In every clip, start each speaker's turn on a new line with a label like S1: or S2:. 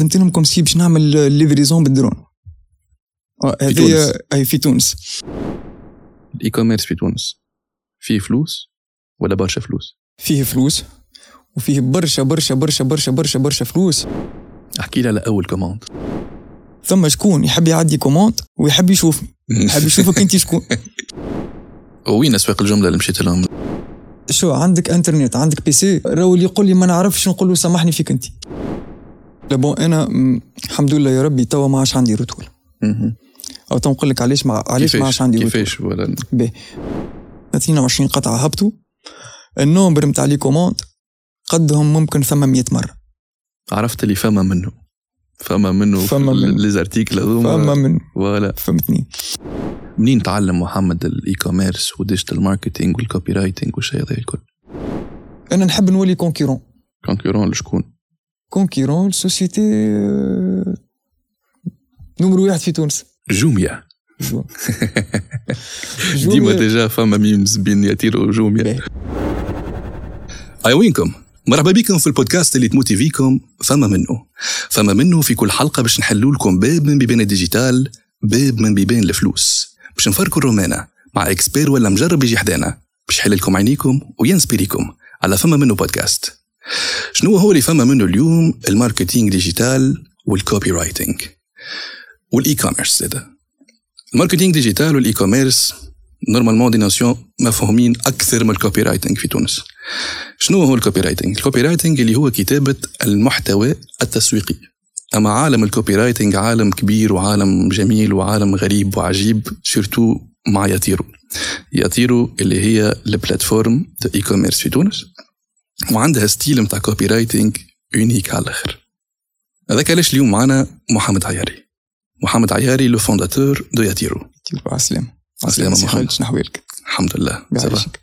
S1: خدمت لهم كوم سي باش نعمل ليفريزون بالدرون آه، هذه
S2: تونس.
S1: اي في تونس
S2: الاي كوميرس في تونس فيه فلوس ولا برشا فلوس
S1: فيه فلوس وفيه برشا برشا برشا برشا برشا برشا فلوس
S2: احكي لي على اول كوموند
S1: ثم شكون يحب يعدي كوموند ويحب يشوفني يحب يشوفك انت شكون
S2: وين اسواق الجمله اللي مشيت لهم
S1: شو عندك انترنت عندك بي سي راهو اللي يقول لي ما نعرفش نقول له سامحني فيك انت لا بون انا م، الحمد لله يا ربي توا ما عادش عندي رتول
S2: مهم.
S1: او تو نقول لك علاش ما علاش
S2: كيفاش-
S1: ما عادش عندي رتول
S2: كيفاش ولا
S1: باهي 22 قطعه هبطوا النومبر نتاع لي كوموند قدهم ممكن ثم 100 مره
S2: عرفت اللي فما منه فما منه
S1: فما منه.
S2: لي زارتيكل
S1: فما
S2: هذوما
S1: من
S2: ولا
S1: فهمتني
S2: منين تعلم محمد الاي كوميرس والديجيتال ماركتينج والكوبي رايتينج والشيء هذا الكل
S1: انا نحب نولي كونكيرون
S2: كونكورون لشكون
S1: كونكيرون السوسيتي آه، نمرو واحد في تونس
S2: جوميا
S1: جو-
S2: ديما ديجا فما ميمز بين ياتير وجوميا وينكم مرحبا بكم في البودكاست اللي تموتي فيكم فما منه فما منه في كل حلقه باش نحلوا لكم باب من بيبان الديجيتال باب من بيبان الفلوس باش نفركوا الرومانه مع اكسبير ولا مجرب يجي حدانا باش يحل لكم عينيكم وينسبيريكم على فما منه بودكاست شنو هو اللي فما منه اليوم الماركتينج ديجيتال والكوبي رايتنج والاي كوميرس زاده الماركتينج ديجيتال والاي كوميرس نورمالمون دي ناسيون مفهومين اكثر من الكوبي رايتنج في تونس شنو هو الكوبي رايتنج الكوبي رايتنج اللي هو كتابه المحتوى التسويقي اما عالم الكوبي رايتنج عالم كبير وعالم جميل وعالم غريب وعجيب سورتو مع ياتيرو ياتيرو اللي هي البلاتفورم تاع اي كوميرس في تونس وعندها ستيل متاع كوبي رايتنج يونيك على الاخر هذاك علاش اليوم معنا محمد عياري محمد عياري لو فونداتور دو ياتيرو
S1: على السلامة
S2: عسلامة
S1: سي
S2: محمد.
S1: خالد شنو أحوالك؟
S2: الحمد لله
S1: قاعد
S2: صباح.
S1: شك.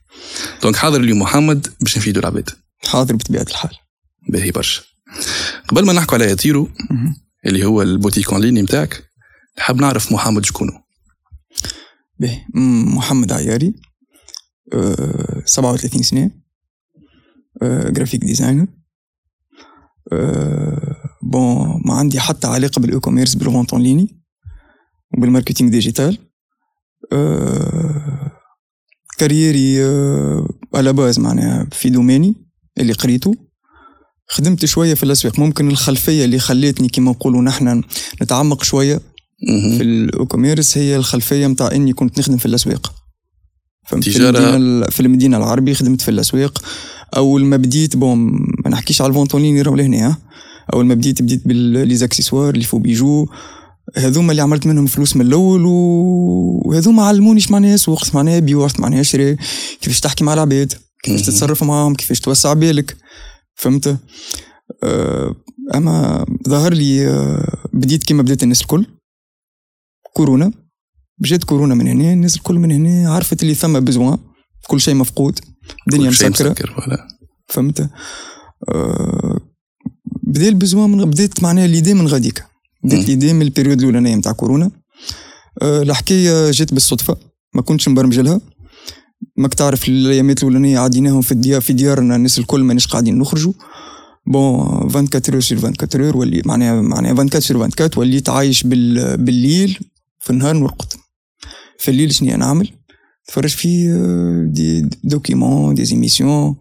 S2: دونك حاضر اليوم محمد باش نفيدوا العباد
S1: حاضر بطبيعة الحال
S2: باهي برشا قبل ما نحكوا على ياتيرو
S1: مهم.
S2: اللي هو البوتيك اون ليني نتاعك نحب نعرف محمد شكونه
S1: باهي م- محمد عياري أه 37 سنة أه جرافيك ديزاينر أه بون ما عندي حتى علاقة بالإي كوميرس بالفونت أون ليني وبالماركتينغ ديجيتال أه كاريري أه على باز معناها في دوميني اللي قريته خدمت شوية في الأسواق ممكن الخلفية اللي خلتني كما نقولوا نحن نتعمق شوية
S2: مهم.
S1: في الاوكوميرس هي الخلفيه نتاع اني كنت نخدم في الاسواق فهمت؟ في
S2: تجارة.
S1: المدينه ال- في المدينه العربيه خدمت في الاسواق اول ما بديت بون ما نحكيش على الفونتونين راهو لهنا ها. اول ما بديت بديت بالليزاكسيسوار اللي فو بيجو هذوما اللي عملت منهم فلوس من الاول و- وهذوما علموني اش معناها سوق اش معناها بيوع اش معناها شراء كيفاش تحكي مع العباد كيفاش
S2: مهم.
S1: تتصرف معاهم كيفاش توسع بالك فهمت أه، اما ظهر لي أه، بديت كيما بدات الناس الكل كورونا جات كورونا من هنا الناس الكل من هنا عرفت اللي ثم بزوان كل شيء مفقود الدنيا
S2: كل شيء
S1: مسكره
S2: ولا
S1: فهمت أه، بدا البزوان من بدات معناها ليدي من غاديك
S2: مم.
S1: بدات ليدي من البيريود الاولانيه نتاع كورونا أه، الحكايه جات بالصدفه ما كنتش مبرمج لها ماك تعرف الايامات الاولانيه عديناهم في الديار في ديارنا الناس الكل ماناش قاعدين نخرجوا بون 24 سور 24 اور ولي معناها معناها 24 سور 24 وليت عايش بال... بالليل في النهار نرقد في الليل شنو نعمل نتفرج في آه، دي دوكيمون دي زيميسيون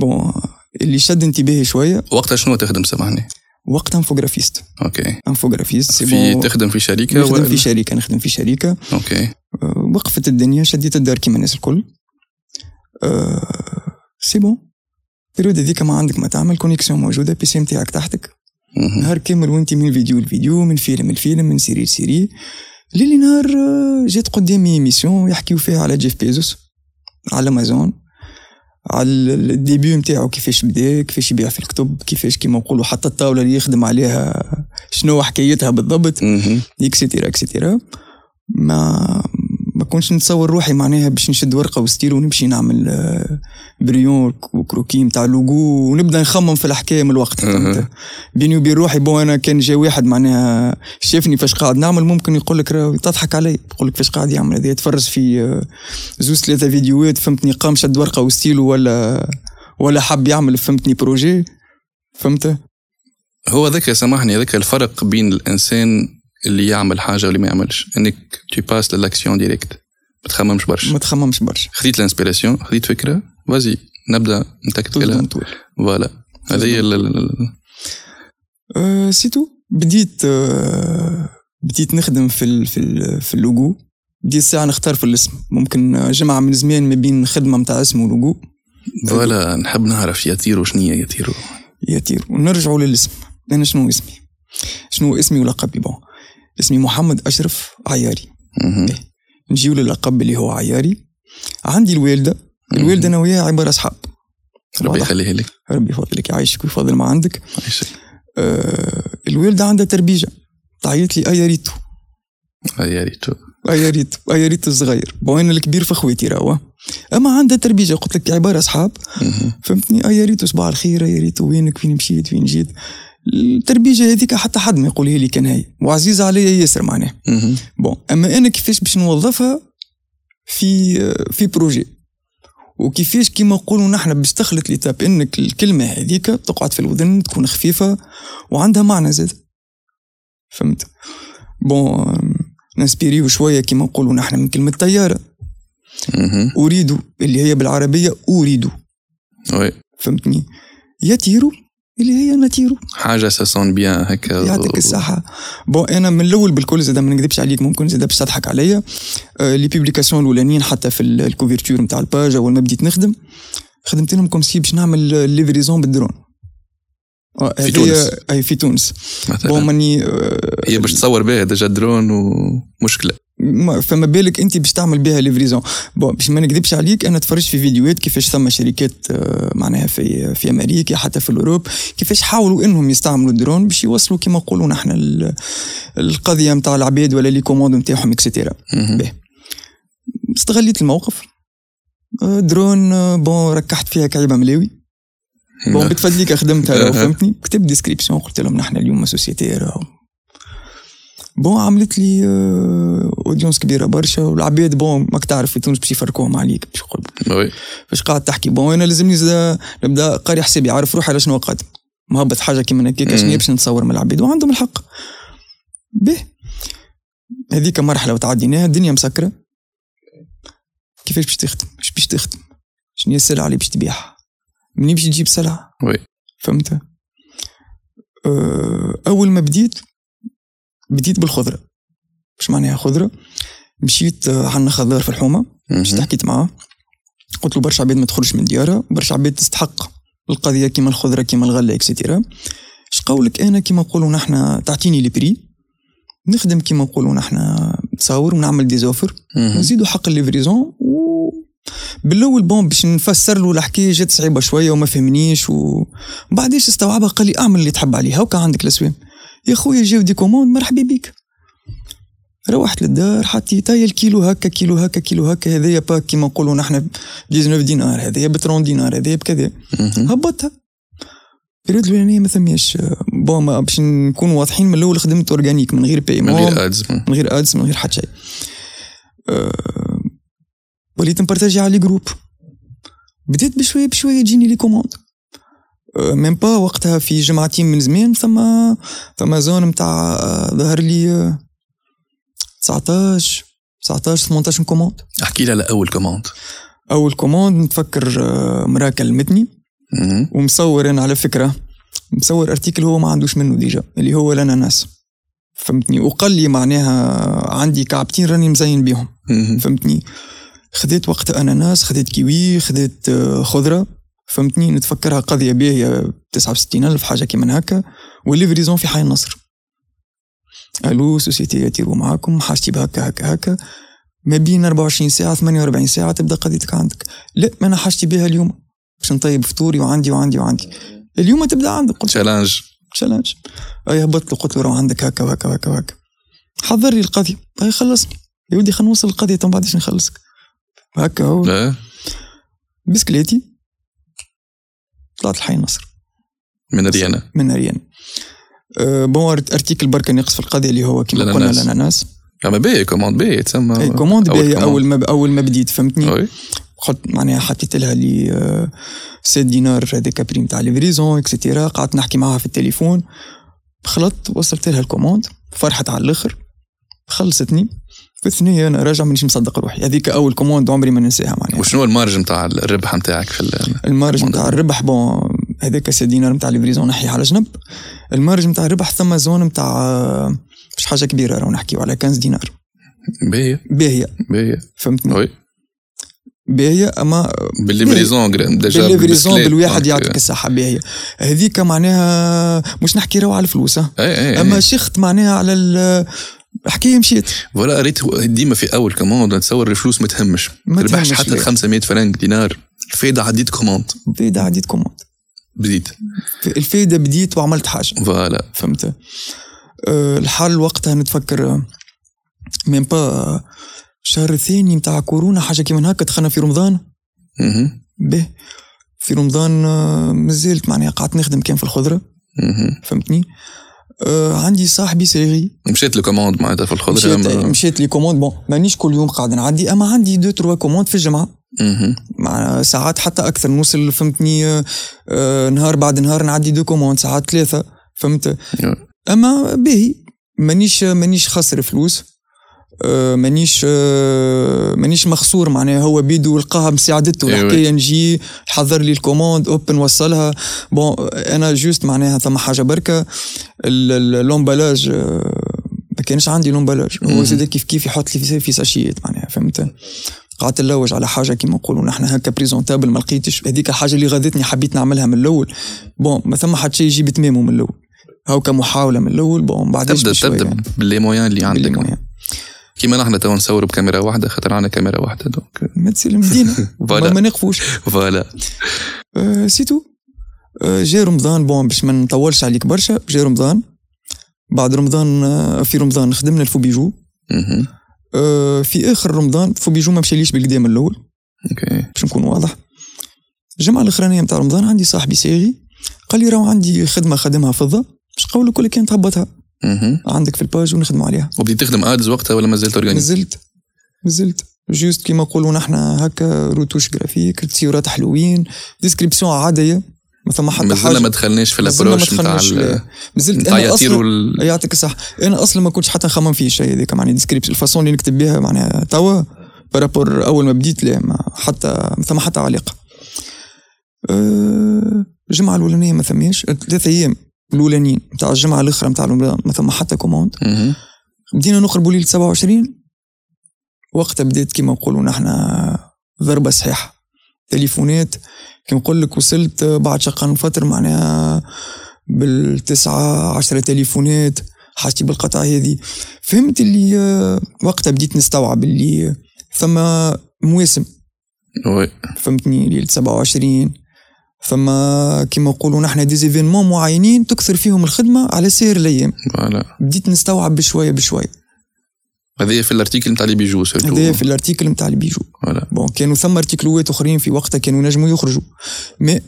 S1: بون اللي شد انتباهي شويه
S2: وقتها شنو تخدم سامحني
S1: وقتها انفوغرافيست
S2: اوكي
S1: انفوغرافيست سي
S2: في
S1: بون
S2: تخدم في شركه
S1: نخدم
S2: ولا
S1: في شركه نخدم في شركه
S2: اوكي
S1: آه، وقفت الدنيا شديت الدار كيما الناس الكل آه، سي بون البيريود هذيك ما عندك ما تعمل كونيكسيون موجوده بي سي نتاعك تحتك
S2: مهم.
S1: نهار كامل وانت من فيديو لفيديو من فيلم لفيلم من سيري لسيري ليلي نهار آه، جات قدامي ميسيون يحكيو فيها على جيف بيزوس على امازون على ال- الديبيو نتاعو كيفاش بدا كيفاش يبيع في الكتب كيفاش كيما نقولوا حتى الطاوله اللي يخدم عليها شنو حكايتها بالضبط
S2: مهم.
S1: اكسيتيرا اكسيتيرا ما ما كنتش نتصور روحي معناها باش نشد ورقه وستيل ونمشي نعمل آه، بريون وكروكي نتاع لوجو ونبدا نخمم في الحكايه من الوقت
S2: أها.
S1: فهمت؟ بيني وبين روحي بون انا كان جا واحد معناها شافني فاش قاعد نعمل ممكن يقول لك راه تضحك علي يقول لك فاش قاعد يعمل هذا يتفرج في آه، زوز ثلاثه فيديوهات فهمتني قام شد ورقه وستيل ولا ولا حب يعمل فهمتني بروجي فهمت
S2: هو ذاك سامحني ذاك الفرق بين الانسان اللي يعمل حاجه واللي ما يعملش انك تو باس للاكسيون ديريكت ما تخممش برشا
S1: ما تخممش برشا
S2: خذيت الانسبيراسيون خذيت فكره وازي نبدا نتكتك
S1: تلزم
S2: لها
S1: طول
S2: فوالا هذه هي ال- ال- ال-
S1: آه، سيتو بديت آه، بديت نخدم في ال في ال في اللوجو بديت ساعة نختار في الاسم ممكن آه، جمعة من زمان ما بين خدمة متاع اسم ولوجو
S2: فوالا نحب نعرف يا تيرو شنو هي يا تيرو
S1: يطير ونرجعوا للاسم انا شنو اسمي شنو اسمي ولقبي بون اسمي محمد اشرف عياري
S2: مهم.
S1: نجيو للقب اللي هو عياري عندي الوالده الوالده انا وياها عباره اصحاب
S2: ربي
S1: واضح.
S2: يخليها لك
S1: ربي يفضلك يعيشك ويفضل ما عندك
S2: عايشك.
S1: آه الوالده عندها تربيجه تعيط لي اياريتو
S2: آه، يا ريتو
S1: اياريتو اياريتو الصغير بون انا الكبير في خواتي راهو اما عندها تربيجه قلت لك عباره اصحاب
S2: مهم.
S1: فهمتني آه يا ريتو صباح الخير آه يا ريتو وينك فين مشيت فين جيت التربيجه هذيك حتى حد ما يقولها لي كان هي وعزيزه عليا ياسر معناها
S2: مهم.
S1: بون اما انا كيفاش باش نوظفها في في بروجي وكيفاش كيما نقولوا نحن باش تخلط ليتاب انك الكلمه هذيك تقعد في الودن تكون خفيفه وعندها معنى زاد فهمت بون نسبيريو شويه كيما نقولوا نحن من كلمه طياره
S2: مهم.
S1: اريد اللي هي بالعربيه اريد
S2: وي
S1: فهمتني يطيروا اللي هي نطيروا
S2: حاجه ساسون بيان هكا
S1: يعطيك الصحة بون أنا من الأول بالكل زاد ما نكذبش عليك ممكن زاد باش تضحك عليا آه، لي بيبليكاسيون الأولانيين حتى في ال- الكوفرتور نتاع الباج أول ما بديت نخدم خدمت لهم كوم سي باش نعمل ليفريزون بالدرون آه،
S2: في
S1: هذه-
S2: تونس.
S1: أي في تونس
S2: مثلا.
S1: بون ماني آه،
S2: هي باش تصور بها ديجا درون ومشكله
S1: ما- فما بالك انت باش تعمل بها ليفريزون بون باش ما نكذبش عليك انا تفرجت في فيديوهات كيفاش ثم شركات آه، معناها في في امريكا حتى في الاوروب كيفاش حاولوا انهم يستعملوا الدرون باش يوصلوا كما نقولوا نحن ال- القضيه نتاع العباد ولا لي كوموند نتاعهم اكسيتيرا
S2: مهم.
S1: باهي. استغليت الموقف آه، درون آه، بون ركحت فيها كعيبه ملاوي
S2: إيه.
S1: بون بتفدليك خدمتها لو فهمتني كتبت ديسكريبسيون قلت لهم نحن اليوم سوسيتي راهو بون عملت لي آه، اودينس كبيره برشا والعباد بون ماك تعرف في تونس باش يفركوهم عليك باش يقول
S2: وي
S1: فاش قاعد تحكي بون انا لازمني زاد نبدا قاري حسابي عارف روحي على شنو قادم مهبط حاجه كيما هكاك شنو
S2: مم.
S1: هي باش نتصور من العباد وعندهم الحق به هذيك مرحله وتعديناها الدنيا مسكره كيفاش باش تخدم اش باش تخدم شنو هي السلعه اللي باش تبيعها منين باش تجيب سلعه
S2: وي.
S1: فهمت أه، اول ما بديت بديت بالخضره اش معناها خضره مشيت آه، عندنا خضار في الحومه مشيت حكيت معاه قلت له برشا عباد ما تخرجش من ديارها برشا عباد تستحق القضيه كيما الخضره كيما الغله اكسيتيرا اش قولك انا كيما نقولوا نحنا تعطيني لي بري نخدم كيما نقولوا نحنا تصاور ونعمل دي زوفر
S2: مهم.
S1: نزيدوا حق الليفريزون و بالاول بون باش نفسر له الحكايه جات صعيبه شويه وما فهمنيش و بعد ايش استوعبها قال لي اعمل اللي تحب عليه هاكا عندك الاسوام يا خويا جاو دي كوموند مرحبا بيك روحت للدار حطيت هيا الكيلو هكا كيلو هكا كيلو هكا هذايا با كيما نقولوا نحن ب 19 دينار هذايا ب 30 دينار هذايا بكذا
S2: مهم.
S1: هبطها البريود الاولانيه ما ثماش بون ما- باش نكون واضحين من الاول خدمت اورجانيك من غير
S2: من
S1: بايمون
S2: غير ادز
S1: من غير ادز من غير حتى شيء أه، وليت نبارتاجي على لي جروب بديت بشويه بشويه تجيني لي كوموند أه، ميم با وقتها في جمعتين من زمان ثم ثم زون متاع أه، ظهر لي أه، 19 19 18 كوموند
S2: احكي لي على اول كوموند
S1: اول كوموند نتفكر أه، مراه كلمتني
S2: مهم.
S1: ومصور انا على فكره مصور ارتيكل هو ما عندوش منه ديجا اللي هو الاناناس فهمتني وقال لي معناها عندي كعبتين راني مزين بيهم
S2: مهم.
S1: فهمتني خديت وقت اناناس خديت كيوي خديت آه، خضره فهمتني نتفكرها قضيه باهيه 69 الف حاجه كيما هكا والليفريزون في حي النصر الو سوسيتي يتيرو معاكم حاجتي بهكا هكا هكا ما بين 24 ساعه 48 ساعه تبدا قضيتك عندك لا ما انا حاجتي بها اليوم باش نطيب فطوري وعندي وعندي وعندي اليوم تبدا عندك قلت
S2: تشالنج
S1: تشالنج اي هبطت له قلت له راه عندك هكا وهكا وهكا وهكا حضر لي القضيه اي خلصني يا ودي خلينا نوصل القضيه تو بعدش نخلصك هكا هو
S2: آه.
S1: بسكليتي طلعت الحي نصر
S2: من اريانا
S1: من اريان أه بون أرت- ارتيكل بركه ناقص في القضيه اللي هو كما قلنا
S2: الأناناس.
S1: الاناناس
S2: اما باهي كوموند باهي تسمى
S1: اي كوموند
S2: أه، أول
S1: باهي
S2: كوموند.
S1: اول ما اول ما بديت فهمتني
S2: وي
S1: قلت معناها حطيت لها لي آه، 7 دينار هذاك بريم تاع ليفريزون اكسيتيرا قعدت نحكي معها في التليفون خلطت وصلت لها الكوموند فرحت على الاخر خلصتني في الثنيه انا راجع مانيش مصدق روحي هذيك اول كوموند عمري ما ننساها معناها
S2: وشنو المارج نتاع الربح نتاعك في ال-
S1: المارج
S2: موندا.
S1: نتاع الربح بون هذاك سي دينار نتاع ليفريزون نحيه على جنب المارج نتاع الربح ثم زون نتاع آه، مش حاجه كبيره راهو نحكيو على 15 دينار
S2: باهية
S1: باهيه
S2: باهية
S1: فهمتني
S2: وي
S1: باهيه اما
S2: بالليفريزون جرام ديجا
S1: إيه.
S2: آه.
S1: بالليفريزون
S2: بالسلاب.
S1: بالواحد
S2: دونك-
S1: يعطيك الصحه باهيه هذيك معناها مش نحكي راهو على الفلوس ها
S2: اي اي
S1: اما شخت معناها على ال- الحكايه مشيت
S2: فوالا قريت هو- ديما في اول كوموند نتصور الفلوس ما تهمش
S1: ما
S2: ما ربحش
S1: تهمش
S2: حتى
S1: ليه.
S2: 500 فرنك دينار الفايده عديت كوموند
S1: الفايده عديت كوموند
S2: بديت
S1: الفايده بديت وعملت حاجه
S2: فوالا
S1: فهمت أه الحل وقتها نتفكر آه، ميم با آه، شهر ثاني نتاع كورونا حاجه كيما هكا دخلنا في رمضان
S2: مهم.
S1: به في رمضان آه، مازالت معناها قعدت نخدم كان في الخضره
S2: مهم.
S1: فهمتني أه عندي صاحبي سيري
S2: مشيت لو كوموند معناتها في الخضره
S1: مشيت, أيوة.
S2: أما-
S1: مشيت لي كوموند بون مانيش كل يوم قاعد نعدي اما عندي دو تروا كوموند في الجمعه
S2: مهم.
S1: مع ساعات حتى اكثر نوصل فهمتني آه، آه، نهار بعد نهار نعدي دو كوموند ساعات ثلاثه فهمت اما باهي مانيش مانيش خاسر فلوس آه، مانيش آه، مانيش مخسور معناها هو بيدو لقاها مساعدته
S2: إيوه.
S1: الحكايه نجي حضر لي الكوموند اوب نوصلها بون انا جوست معناها ثم حاجه بركه ال- ال- لومبالاج آه، ما كانش عندي لومبالاج هو
S2: مهم.
S1: زاد كيف كيف يحط لي في- في ساشيات معناها فهمت قعدت نلوج على حاجه كيما نقولوا نحن هكا بريزونتابل ما لقيتش هذيك الحاجه اللي غادتني حبيت نعملها من الاول بون ما ثم حد شيء يجيب تمامه من الاول هاو كمحاوله من الاول بون بعديش
S2: تبدا
S1: بشوية
S2: تبدا
S1: يعني.
S2: باللي مويان اللي
S1: باللي
S2: عندك
S1: مهم.
S2: كيما نحن تو نصوروا بكاميرا واحده خاطر عندنا كاميرا euh، واحده دونك
S1: ما تصير المدينه ما
S2: فوالا.
S1: ما نقفوش
S2: فوالا
S1: آه، سيتو آه، جا رمضان بون باش ما نطولش عليك برشا جا رمضان بعد رمضان آه، في رمضان خدمنا الفوبيجو
S2: مهم.
S1: آه، في اخر رمضان فوبيجو ما مشاليش بالقدام الاول
S2: اوكي
S1: باش نكون واضح الجمعه الاخرانيه نتاع رمضان عندي صاحبي ساغي قال لي راهو عندي خدمه خدمها فضه باش قولك كل كان تهبطها
S2: مهم.
S1: عندك في الباج ونخدموا عليها
S2: وبديت Mhm. تخدم ادز وقتها ولا مازالت اورجانيز
S1: مازلت مازلت جوست كيما نقولوا نحن هكا روتوش جرافيك تصيورات حلوين ديسكريبسيون عاديه ما ثم حتى
S2: مازلنا
S1: حاجه
S2: ما دخلناش في
S1: مازلنا ما
S2: الابروش نتاع
S1: دخلناش يعني
S2: ال-
S1: لا. مازلت
S2: نتاع
S1: انا
S2: يطير
S1: اصلا
S2: وال-
S1: يعطيك الصح انا اصلا ما كنتش حتى نخمم فيه شيء هذاك معناها ديسكريبسيون الفاسون اللي نكتب بها معناها توا بارابور اول ما بديت لا ما حتى ما ثم حتى علاقه أه، الجمعه الاولانيه ما ثماش ثلاثة ايام الاولانيين نتاع الجمعه الاخرى نتاع رمضان ما ثم حتى كوموند
S2: مهم.
S1: بدينا نقربوا ليلة 27 وقتها بدات كيما نقولوا نحن ضربة صحيحة تليفونات كيما نقول لك وصلت بعد شقان فترة معناها بالتسعة عشرة تليفونات حاجتي بالقطع هذه فهمت اللي آه، وقتها بديت نستوعب اللي ثم مواسم
S2: وي
S1: فهمتني ليلة 27 ثم كيما نقولوا نحن ديزيفينمون معينين تكثر فيهم الخدمة على سير الأيام
S2: فوالا
S1: بديت نستوعب بشوية بشوية
S2: هذايا في الارتيكل نتاع لي بيجو سيرتو
S1: هذايا في الارتيكل نتاع البيجو
S2: فوالا
S1: بون كانوا ثم ارتيكلوات اخرين في وقتها كانوا نجموا يخرجوا مي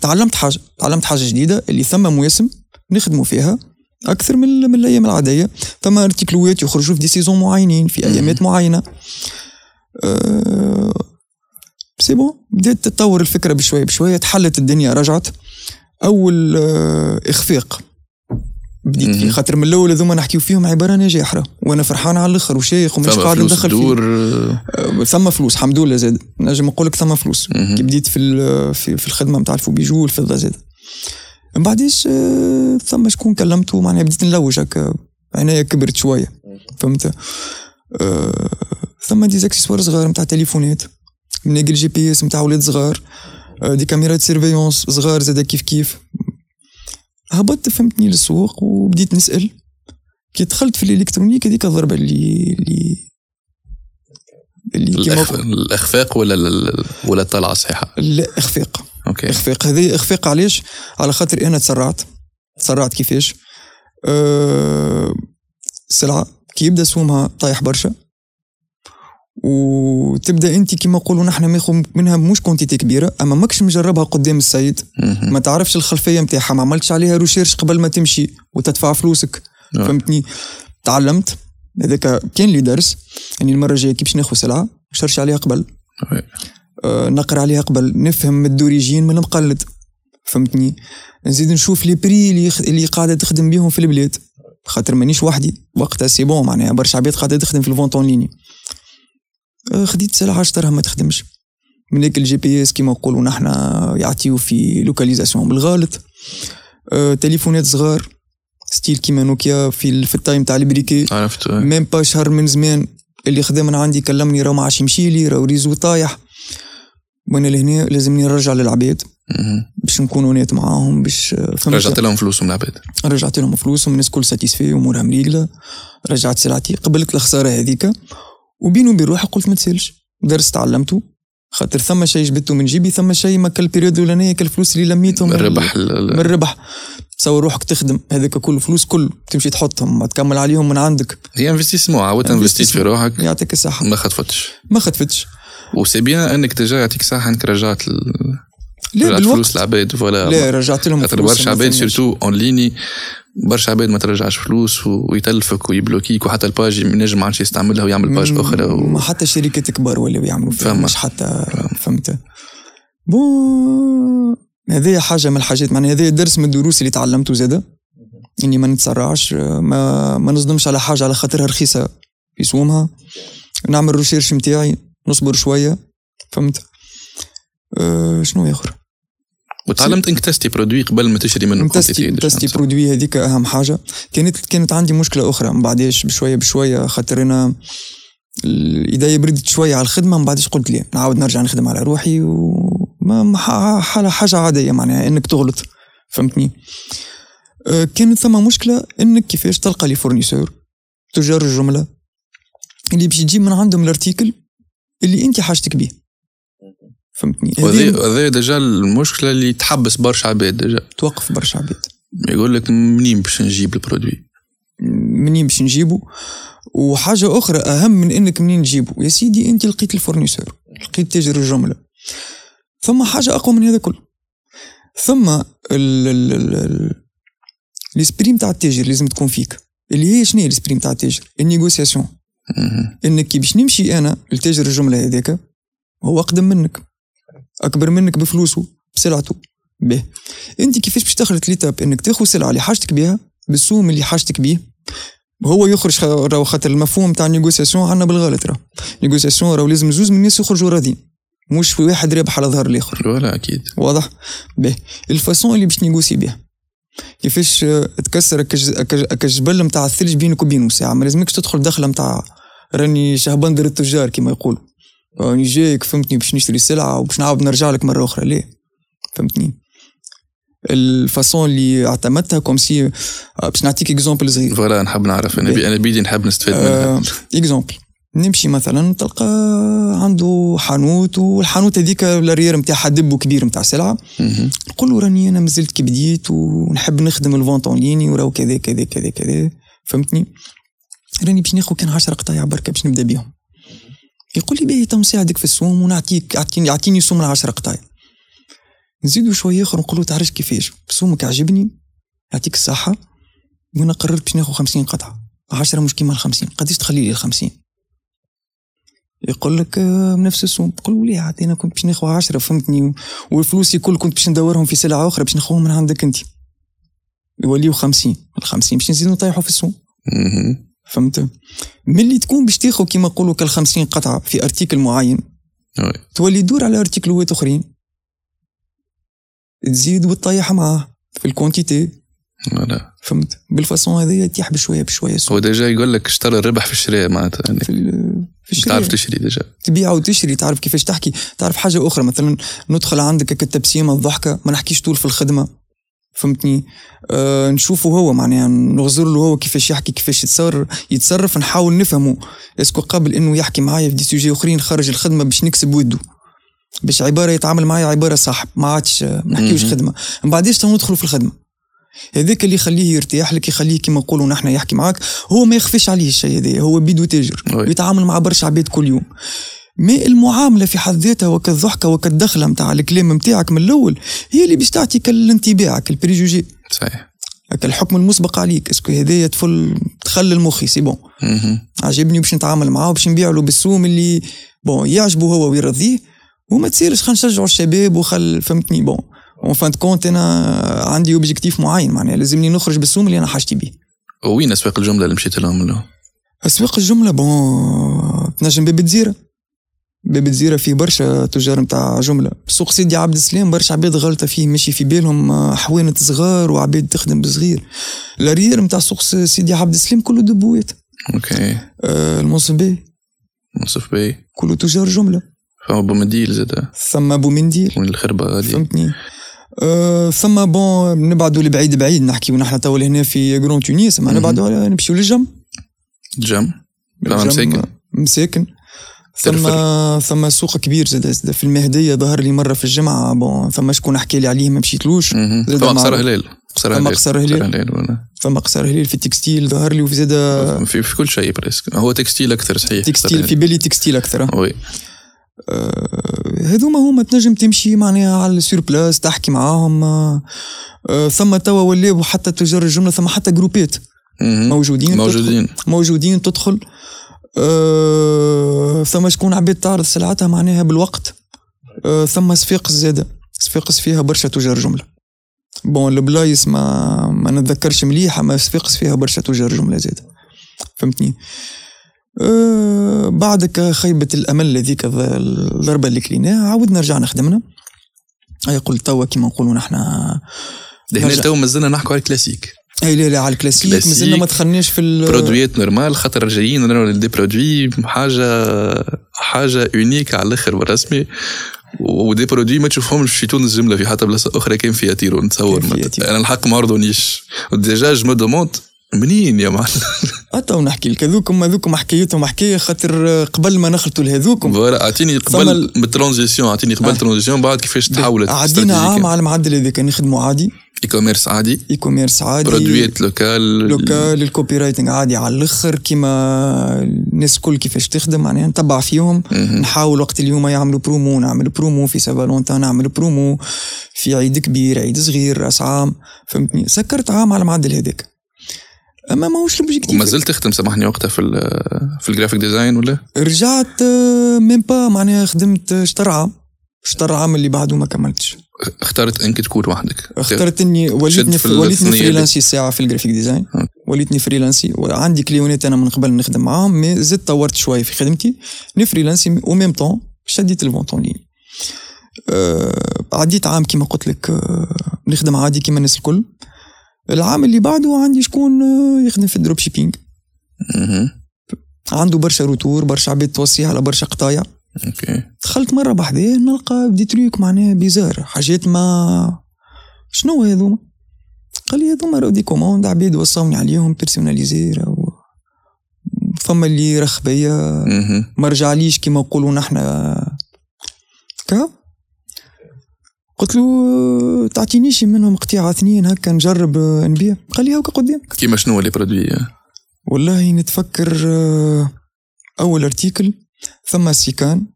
S1: تعلمت حاجه تعلمت حاجه جديده اللي ثم مواسم نخدموا فيها اكثر من من الايام العاديه ثم ارتيكلوات يخرجوا في دي سيزون معينين في ايامات معينه أه سي بون بدات تتطور الفكره بشويه بشويه تحلت الدنيا رجعت اول آه، اخفاق بديت فيه
S2: مهم.
S1: خاطر من الاول هذوما نحكيو فيهم عباره عن جاحره وانا فرحان على الاخر وشايخ ومش
S2: فما
S1: قاعد
S2: فلوس
S1: ندخل فيه
S2: تدور آه،
S1: أه، ثم فلوس الحمد لله زاد نجم نقول لك ثم فلوس
S2: مهم.
S1: كي بديت في ال- في, في الخدمه نتاع الفوبيجو والفضه زاد من بعديش أه، ثم شكون كلمته معناها بديت نلوج هكا عينيا كبرت شويه فهمت أه، ثم دي زاكسيسوار صغار نتاع تليفونات مناقل جي بي اس نتاع ولاد صغار أه، دي كاميرات سيرفيونس صغار زاد كيف كيف هبطت فهمتني للسوق وبديت نسال كي دخلت في الالكترونيك هذيك الضربه اللي اللي اللي
S2: الأخ-
S1: كيما
S2: الاخفاق ولا ال- ولا الطلعه صحيحه
S1: لا اخفاق
S2: اوكي
S1: اخفاق هذه اخفاق علاش على خاطر انا تسرعت تسرعت كيفاش أه سلعه كي يبدا سومها طايح برشا وتبدا انت كيما نقولوا نحن ناخذ منها مش كونتيتي كبيره اما ماكش مجربها قدام السيد
S2: مهم.
S1: ما تعرفش الخلفيه نتاعها ما عملتش عليها روشيرش قبل ما تمشي وتدفع فلوسك
S2: نعم.
S1: فهمتني تعلمت هذاك كان لي درس يعني المره الجايه كي باش ناخذ سلعه شرش عليها قبل
S2: وي.
S1: آه، نقرا عليها قبل نفهم الدوريجين من المقلد فهمتني نزيد نشوف لي بري اللي يخ- اللي قاعده تخدم بيهم في البلاد خاطر مانيش وحدي وقتها سي بون معناها برشا عباد قاعده تخدم في الفونت اون ليني آه، خديت سلعه عشرة ما تخدمش من هيك الجي بي اس كيما نقولوا نحنا يعطيو في لوكاليزاسيون بالغلط آه، تليفونات صغار ستيل كيما نوكيا في ال- في التايم تاع البريكي
S2: عرفت
S1: ميم با شهر من زمان اللي خدام من عندي كلمني راهو ما عادش يمشي لي راهو ريزو طايح وانا لهنا لازمني نرجع للعباد
S2: مهم.
S1: باش نكون اونيت معاهم باش آه، فهمت؟
S2: رجعت لهم فلوسهم العباد
S1: رجعت لهم فلوسهم الناس كل ساتيسفي امورها مريقله رجعت سلعتي قبلت الخساره هذيك وبيني وبين روحي قلت ما تسالش درس تعلمته خاطر ثم شيء جبته من جيبي ثم شيء ما كالبيريود الاولانيه كالفلوس اللي لميتهم
S2: من ربح ال- ال-
S1: من الربح تصور روحك تخدم هذاك كل فلوس كل تمشي تحطهم ما تكمل عليهم من عندك
S2: هي انفستيسمون عاودت انفستيت في روحك
S1: يعطيك الصحه
S2: ما خطفتش
S1: ما خطفتش
S2: وسي بيان انك ديجا يعطيك صحه انك رجعت ال...
S1: لا
S2: رجعت
S1: بالوقت
S2: فلوس العباد فوالا
S1: لا رجعت لهم
S2: خاطر
S1: فلوس
S2: برشا
S1: ما
S2: عباد
S1: فهمناش.
S2: سيرتو اون ليني برشا عباد ما ترجعش فلوس و- ويتلفك ويبلوكيك وحتى الباج ينجم ما عادش يستعملها ويعمل باج اخرى و...
S1: ما حتى شركات كبار ولاو يعملوا فيها
S2: فما.
S1: مش حتى فهمت بون هذه حاجه من الحاجات معناها هذه درس من الدروس اللي تعلمته زاده اني ما نتسرعش ما ما نصدمش على حاجه على خاطرها رخيصه في سومها نعمل ريسيرش نتاعي نصبر شويه فهمت أه شنو اخر
S2: وتعلمت انك تستي برودوي قبل ما تشري منه
S1: تستي تستي برودوي هذيك اهم حاجه كانت كانت عندي مشكله اخرى من بعديش بشويه بشويه خاطر انا ال- ايديا بردت شويه على الخدمه من بعديش قلت لي نعاود نرجع نخدم على روحي وما حاله حاجه عاديه معناها انك تغلط فهمتني أه، كانت ثم مشكله انك كيفاش تلقى لي فورنيسور تجار الجمله اللي باش تجيب من عندهم الارتيكل اللي انت حاجتك بيه فهمتني هذه
S2: هذا ديجا المشكله اللي تحبس برشا عباد ديجا
S1: توقف برشا عباد
S2: يقول لك منين باش نجيب البرودوي
S1: منين باش نجيبه وحاجة أخرى أهم من إنك منين تجيبه يا سيدي أنت لقيت الفورنيسور لقيت تاجر الجملة ثم حاجة أقوى من هذا كله ثم ال- ال- ال- ال- الاسبري متاع التاجر لازم تكون فيك اللي هي شنو هي الاسبري متاع التاجر النيغوسياسيون
S2: مهم.
S1: انك كي باش نمشي انا لتاجر الجمله هذاك هو اقدم منك اكبر منك بفلوسه بسلعته به انت كيفاش باش تخلط ليتاب انك تاخذ سلعه اللي حاجتك بها بالسوم اللي حاجتك بيه هو يخرج خ- راهو خاطر المفهوم تاع النيغوسياسيون عندنا بالغلط راه نيغوسياسيون راهو لازم زوز من الناس يخرجوا راضيين مش في واحد رابح على ظهر الاخر
S2: فوالا اكيد
S1: واضح به الفاسون اللي باش نيغوسي بها كيفاش آه، تكسر أكج- أكج- أكجبل نتاع الثلج بينك وبينه ساعه ما لازمكش تدخل دخله نتاع راني شهبندر التجار كما يقولوا راني جايك فهمتني باش نشتري سلعه وباش نعاود نرجع لك مره اخرى ليه فهمتني الفاسون اللي اعتمدتها كوم سي آه، باش نعطيك اكزومبل صغير
S2: فوالا نحب نعرف انا
S1: باهي.
S2: بي- انا بيدي نحب نستفاد منها
S1: آه، اكزومبل نمشي مثلا تلقى عنده حانوت والحانوت هذيك الاريير نتاعها دب كبير نتاع سلعه
S2: مهم.
S1: نقول له راني انا مازلت كي بديت ونحب نخدم الفونت اون ليني وراو كذا كذا كذا كذا فهمتني راني باش ناخذ كان 10 قطايع بركه باش نبدا بيهم يقول لي باهي تو نساعدك في السوم ونعطيك اعطيني اعطيني سوم ال 10 قطايع نزيدو شويه اخر نقول له تعرفش كيفاش سومك عجبني يعطيك الصحه وانا قررت باش ناخذ 50 قطعه 10 مش كيما ال 50 قداش تخلي لي ال 50 يقول لك آه، نفس السوم تقول له ليه عاد انا كنت باش ناخذ 10 فهمتني والفلوس الكل كنت باش ندورهم في سلعه اخرى باش ناخذهم من عندك انت يوليو 50 ال 50 باش نزيدو نطيحوا في السوق
S2: مهم.
S1: فهمت ملي تكون باش تاخذ كيما نقولوا كال 50 قطعه في ارتيكل معين
S2: وي.
S1: تولي تدور على ارتيكلوات اخرين تزيد وتطيح معاه في الكونتيتي
S2: فوالا
S1: فهمت بالفاسون هذيا تيح بشويه بشويه السوق
S2: هو ديجا يقول لك اشترى الربح في الشراء معناتها يعني
S1: في ال- في الشراء.
S2: تعرف تشري ديجا
S1: تبيع وتشري تعرف كيفاش تحكي تعرف حاجه اخرى مثلا ندخل عندك هكا التبسيمه الضحكه ما نحكيش طول في الخدمه فهمتني أه نشوفه هو معناها نغزر له هو كيفاش يحكي كيفاش يتصرف يتصرف نحاول نفهمه اسكو قبل انه يحكي معايا في دي سوجي اخرين خارج الخدمه باش نكسب وده باش عباره يتعامل معايا عباره صاحب ما عادش آه، ما نحكيوش
S2: مهم.
S1: خدمه من بعديش تو ندخلوا في الخدمه هذاك اللي يخليه يرتاح لك يخليه كيما نقولوا نحن يحكي معاك هو ما يخفيش عليه الشيء هذا هو بيدو تاجر
S2: وي.
S1: يتعامل مع برشا عباد كل يوم ما المعامله في حد ذاتها وكالضحكه وكالدخله نتاع الكلام نتاعك من الاول هي اللي باش تعطي كالانطباع كالبريجوجي
S2: صحيح
S1: الحكم المسبق عليك اسكو هذايا تفل تخلي المخي سي بون
S2: مهم.
S1: عجبني باش نتعامل معاه باش نبيع له بالسوم اللي بون يعجبه هو ويرضيه وما تصيرش خلينا نشجعوا الشباب وخل فهمتني بون اون فان كونت انا عندي اوبجيكتيف معين معناها لازمني نخرج بالسوم اللي انا حاجتي بيه
S2: وين اسواق الجمله اللي مشيت لهم ولا
S1: اسواق الجمله بون تنجم باب الجزيره باب الجزيره فيه برشا تجار نتاع جمله سوق سيدي عبد السلام برشا عباد غلطه فيه مشي في بالهم حوانت صغار وعباد تخدم بصغير الاريير نتاع سوق سيدي عبد السلام كله دبوات
S2: اوكي
S1: آه، المنصبي
S2: منصف باهي
S1: كله تجار جمله
S2: فما بومديل زاد
S1: ثم بومنديل
S2: وين الخربه هذه
S1: فهمتني آه، ثم بون نبعدوا لبعيد بعيد نحكيو نحن توا لهنا في جرون تونس ما
S2: مهم.
S1: نبعدوا على- نمشيو للجم
S2: جم فما
S1: الجم
S2: مساكن.
S1: مساكن ثم ثم سوق كبير زاد زاد في المهديه ظهر لي مره في الجمعه بون ثم شكون حكى لي عليه ما مشيتلوش
S2: مهم.
S1: زاد
S2: فما
S1: معروف.
S2: قصر هلال قصر
S1: فما
S2: هلال
S1: قصر هلال.
S2: ولا.
S1: ثم قصر هليل في التكستيل ظهر لي وفي زاد
S2: آه، في, في كل شيء بريسك هو تكستيل اكثر صحيح
S1: تكستيل
S2: قصر
S1: في بالي تكستيل اكثر
S2: هلال. وي
S1: آه، هذوما هما تنجم تمشي معناها على السور بلاس تحكي معاهم آه، آه، ثم توا ولاو حتى تجار الجمله ثم حتى جروبات
S2: مهم.
S1: موجودين
S2: موجودين
S1: تدخل موجودين تدخل آه، ثم شكون عباد تعرض سلعتها معناها بالوقت آه، ثم صفاقس زاده صفاقس فيها برشا تجار جمله بون البلايص ما ما نتذكرش مليح اما صفاقس فيها برشا تجار جمله زاده فهمتني آه، بعدك خيبة الأمل هذيك الض- الضربة اللي كليناها عاودنا رجعنا خدمنا أي قلت توا كيما نقولوا نحن
S2: لهنا
S1: نرجع.
S2: تو مازلنا نحكوا على الكلاسيك
S1: أي لا لا على الكلاسيك
S2: كلاسيك،
S1: مازلنا ما دخلناش في ال-
S2: برودويات نورمال خاطر جايين راهو دي برودوي حاجه حاجه اونيك على الاخر بالرسمي ودي برودوي ما تشوفهمش في تونس جمله في حتى بلاصه اخرى كان فيها تيرو نتصور
S1: كان فيها
S2: مت-
S1: تيرو.
S2: انا الحق ما عرضونيش ديجا جو دوموند منين يا معلم
S1: أتوا نحكي لك هذوكم هذوكم حكايتهم حكاية خاطر آه، قبل ما نخلطوا لهذوكم
S2: فوالا اعطيني
S1: ثم
S2: قبل
S1: ال-
S2: بالترانزيسيون اعطيني
S1: آه.
S2: قبل ترانزيسيون بعد كيفاش تحولت
S1: عدينا عام
S2: استراتيجية.
S1: على المعدل هذاك نخدموا عادي
S2: اي كوميرس عادي
S1: اي كوميرس عادي
S2: برودويات لوكال
S1: لوكال الكوبي رايتنج عادي على الاخر كيما الناس الكل كيفاش تخدم معناها نتبع فيهم
S2: مهم.
S1: نحاول وقت اليوم يعملوا برومو نعمل برومو في سافالونتا نعمل برومو في عيد كبير عيد صغير راس عام فهمتني سكرت عام على المعدل هذاك اما ماهوش الاوبجيكتيف
S2: وما زلت تخدم سامحني وقتها في ال- في الجرافيك ديزاين ولا
S1: رجعت آه، ميم با معناها خدمت آه، شطر عام شطر عام اللي بعده ما كملتش
S2: اخترت انك تكون وحدك
S1: اخترت اني
S2: شد
S1: وليتني
S2: في
S1: وليتني
S2: الثنية دي.
S1: فريلانسي ساعه في الجرافيك ديزاين
S2: ها.
S1: وليتني فريلانسي وعندي كليونات انا من قبل نخدم معاهم مي زدت طورت شويه في خدمتي نفريلانسي او ميم طون شديت الفونت اون لين آه، عديت عام كيما قلت لك آه، نخدم عادي كيما الناس الكل العام اللي بعده عندي شكون آه، يخدم في الدروب شيبينج
S2: مهم.
S1: عنده برشا روتور برشا عباد توصيه على برشا قطايع
S2: اوكي
S1: دخلت مره بحذاه نلقى دي تريك معناها بيزار حاجات ما شنو هذوما قال لي هذوما راهو دي كوموند عبيد وصوني عليهم بيرسوناليزي راهو فما اللي رخ بيا
S2: مهم.
S1: ما رجعليش كيما نقولوا نحنا كا قلت له تعطينيش منهم قطيعه اثنين هكا نجرب آه، نبيع قال لي هاكا قدام
S2: كيما شنو اللي برودوي
S1: والله نتفكر آه، اول ارتيكل ثم سيكان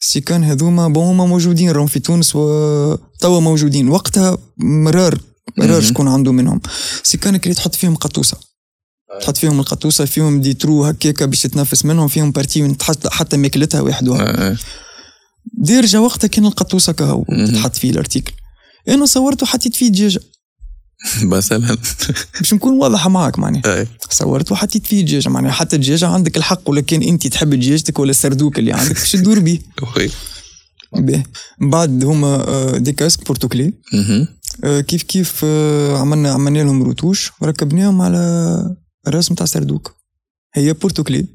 S1: سيكان هذوما بون هما موجودين راهم في تونس وتوا موجودين وقتها مرار مرار
S2: مهم.
S1: شكون عنده منهم سيكان كي تحط فيهم قطوسه تحط فيهم القطوسه فيهم دي ترو هكاك باش تتنفس منهم فيهم بارتي من تحت حتى ماكلتها وحدها
S2: آه، آه.
S1: دارجه وقتها كان القطوسه كهو
S2: مهم.
S1: تحط فيه الارتيكل انا صورته وحطيت فيه دجاجه
S2: مثلا
S1: باش نكون واضحه معاك معناها
S2: آه.
S1: صورت وحطيت فيه دجاجه معناها حتى الدجاجه عندك الحق ولا كان انت تحب دجاجتك ولا السردوك اللي عندك باش تدور بيه
S2: أوكي.
S1: باهي. من بعد هما آه، دي كاسك بورتوكلي
S2: مهم.
S1: آه، كيف كيف آه، عملنا عملنا لهم روتوش وركبناهم على الراس نتاع سردوك هي بورتوكلي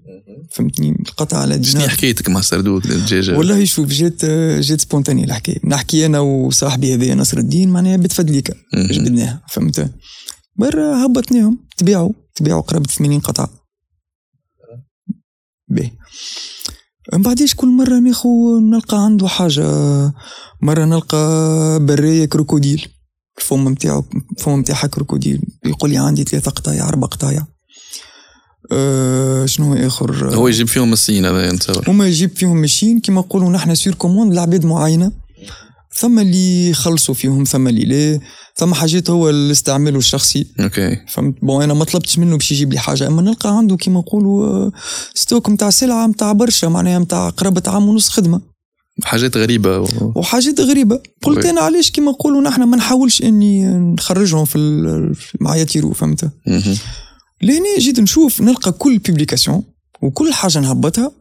S1: فهمتني القطع على
S2: شنو
S1: دينار
S2: حكايتك مع السردوت الدجاجه
S1: والله شوف جات آه، جات سبونتاني الحكايه نحكي انا وصاحبي هذايا نصر الدين معناها بتفدليكا
S2: مهم.
S1: جبدناها فهمت برا هبطناهم تبيعوا تبيعوا قرابة 80 قطعة باهي من بعديش كل مرة ناخو نلقى عنده حاجة مرة نلقى براية كروكوديل الفم نتاعو الفم نتاعها كروكوديل يقول لي عندي ثلاثة قطايع أربع قطايع أه شنو آخر
S2: هو يجيب فيهم الصين هذا يعني نتصور
S1: هما يجيب فيهم ماشيين كيما نقولوا نحن سير كوموند لعباد معينه ثم اللي يخلصوا فيهم ثم اللي لا ثم حاجات هو الاستعمال الشخصي
S2: اوكي
S1: فهمت بون انا ما طلبتش منه باش يجيب لي حاجه اما نلقى عنده كيما نقولوا آه، ستوك نتاع سلعه نتاع برشا معناها نتاع قرابه عام ونص خدمه
S2: حاجات غريبه و...
S1: وحاجات غريبه قلت
S2: وي.
S1: انا علاش كيما نقولوا نحن ما نحاولش اني نخرجهم في ال- معايا تيرو فهمت
S2: مهم.
S1: لهنا جيت نشوف نلقى كل بيبليكاسيون وكل حاجه نهبطها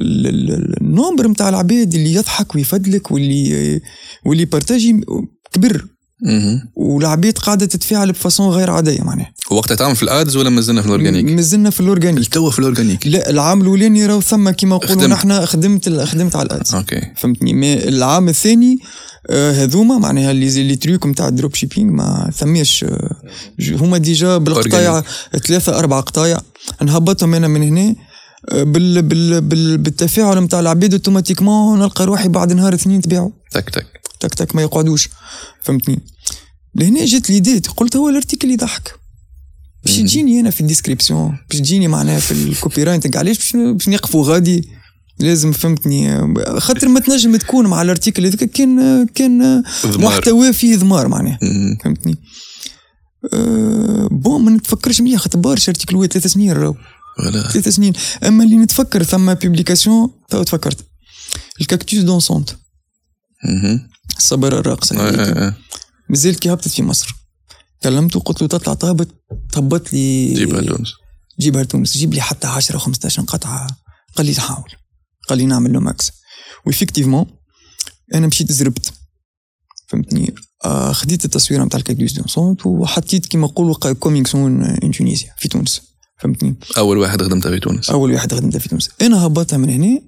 S1: ال- ال- ال- النومبر نتاع العباد اللي يضحك ويفدلك واللي واللي بارتاجي كبر
S2: مهم.
S1: والعباد قاعده تتفاعل بفاسون غير عاديه معناها
S2: وقتها تعمل في الادز ولا مازلنا في الاورجانيك؟
S1: مازلنا في الاورجانيك
S2: التوا في الاورجانيك
S1: لا العام الاولاني راهو ثم كيما نقولوا
S2: خدمت.
S1: نحن خدمت ال- خدمت على الادز
S2: اوكي
S1: فهمتني ما العام الثاني آه، هذوما معناها اللي زي- اللي تريك نتاع الدروب شيبينغ ما ثماش آه، ج- هما ديجا بالقطايع ثلاثة أربع قطايع نهبطهم أنا من هنا آه، بال بال بال بالتفاعل نتاع العباد اوتوماتيكمون نلقى روحي بعد نهار اثنين تبيعوا
S2: تك تك
S1: تك تك ما يقعدوش فهمتني لهنا جات ليديت قلت هو الارتيكل يضحك باش
S2: مم.
S1: تجيني انا في الديسكريبسيون باش تجيني معناها في الكوبي رايتنج علاش باش- باش نقفوا غادي لازم فهمتني آه، خاطر ما تنجم تكون مع الارتيكل هذاك كان آه، كان آه،
S2: ضمار.
S1: محتوى فيه ذمار معناها
S2: مهم.
S1: فهمتني أه بون ما نتفكرش مليح خاطر برشا ارتيكلوات ثلاث سنين راهو
S2: ولا
S1: ثلاث سنين اما اللي نتفكر ثم بيبليكاسيون تو تفكرت الكاكتوس دونسونت
S2: مهم.
S1: الصبر الراقصه
S2: آه،
S1: هذيك.
S2: آه، آه.
S1: مازال كي هبطت في مصر كلمته قلت له تطلع تهبط تهبط لي
S2: جيبها لتونس
S1: جيبها لتونس جيب لي حتى 10 15 قطعه قال لي نحاول قال لي نعمل لو ماكس وإفكتيفمون انا مشيت زربت فهمتني آه، خديت التصويره نتاع الكاكدوس دون سونت وحطيت كيما نقولوا قا- كومينغ سون ان تونيزيا في تونس فهمتني
S2: اول واحد خدمتها في تونس
S1: اول واحد خدمته في تونس انا هبطها من هنا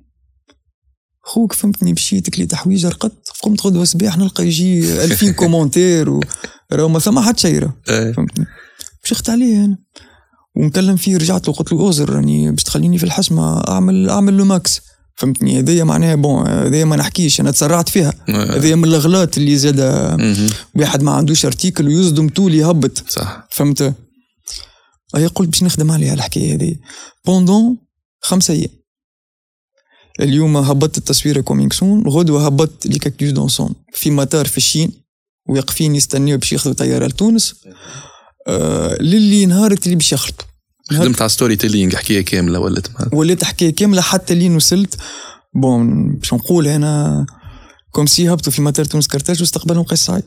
S1: خوك فهمتني مشيت كليت حويجه رقدت قمت غدوه صباح نلقى يجي 2000 كومونتير و- راهو ما ثم حد شيء راهو.
S2: آه.
S1: فهمتني مشيت عليه انا ونكلم فيه رجعت له قلت له اوزر راني باش تخليني في الحشمه اعمل اعمل لو ماكس فهمتني هذايا معناها بون هذايا ما نحكيش انا تسرعت فيها
S2: آه.
S1: هذايا من الاغلاط اللي زاد
S2: مهم.
S1: واحد ما عندوش ارتيكل ويصدم طول يهبط
S2: صح
S1: فهمت هي قلت باش نخدم عليها الحكايه هذه بوندون خمسة ايام اليوم هبطت التصوير كومينغ سون غدوه هبطت لي كاكتوس دونسون في مطار في الشين واقفين يستنيو باش ياخذوا طياره لتونس آه للي نهار اللي باش يخلطوا
S2: خدمت على ستوري تيلينج حكايه كامله ولات معاك.
S1: ولات حكايه كامله حتى لين وصلت بون باش نقول هنا كوم سي هبطوا في مطار تونس كرتاج واستقبلهم قيس سعيد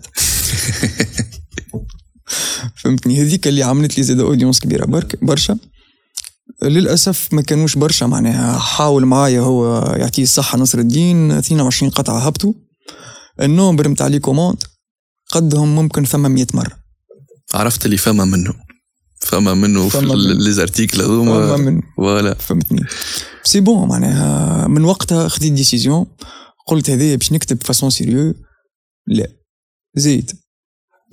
S1: فهمتني هذيك اللي عملت لي زاد اودينس كبيره برك برشا للاسف ما كانوش برشا معناها حاول معايا هو يعطيه الصحه نصر الدين 22 قطعه هبطوا النومبر نتاع لي كوموند قدهم ممكن ثم 100 مره
S2: عرفت اللي فما منه فما منه في
S1: فما منه.
S2: ليزارتيكل
S1: فما
S2: هذوما
S1: من
S2: ولا
S1: فهمتني سي بون معناها من وقتها خديت ديسيزيون قلت هذايا باش نكتب فاسون سيريو لا زيد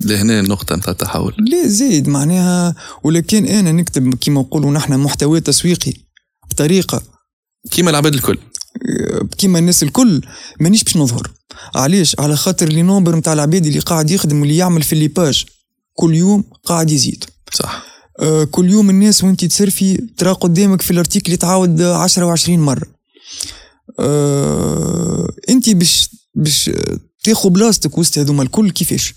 S2: لهنا النقطه نتاع التحول
S1: لا زيد معناها ولا كان انا نكتب كيما نقولوا نحن محتوى تسويقي بطريقه
S2: كيما العباد الكل
S1: آه، كيما الناس الكل مانيش باش نظهر علاش على خاطر لي نومبر نتاع العباد اللي قاعد يخدم واللي يعمل في لي باج كل يوم قاعد يزيد
S2: صح
S1: آه، كل يوم الناس وانت تسرفي ترى قدامك في الارتيكل يتعاود 10 و20 مره آه، انت باش باش آه، تاخو بلاصتك وسط هذوما الكل كيفاش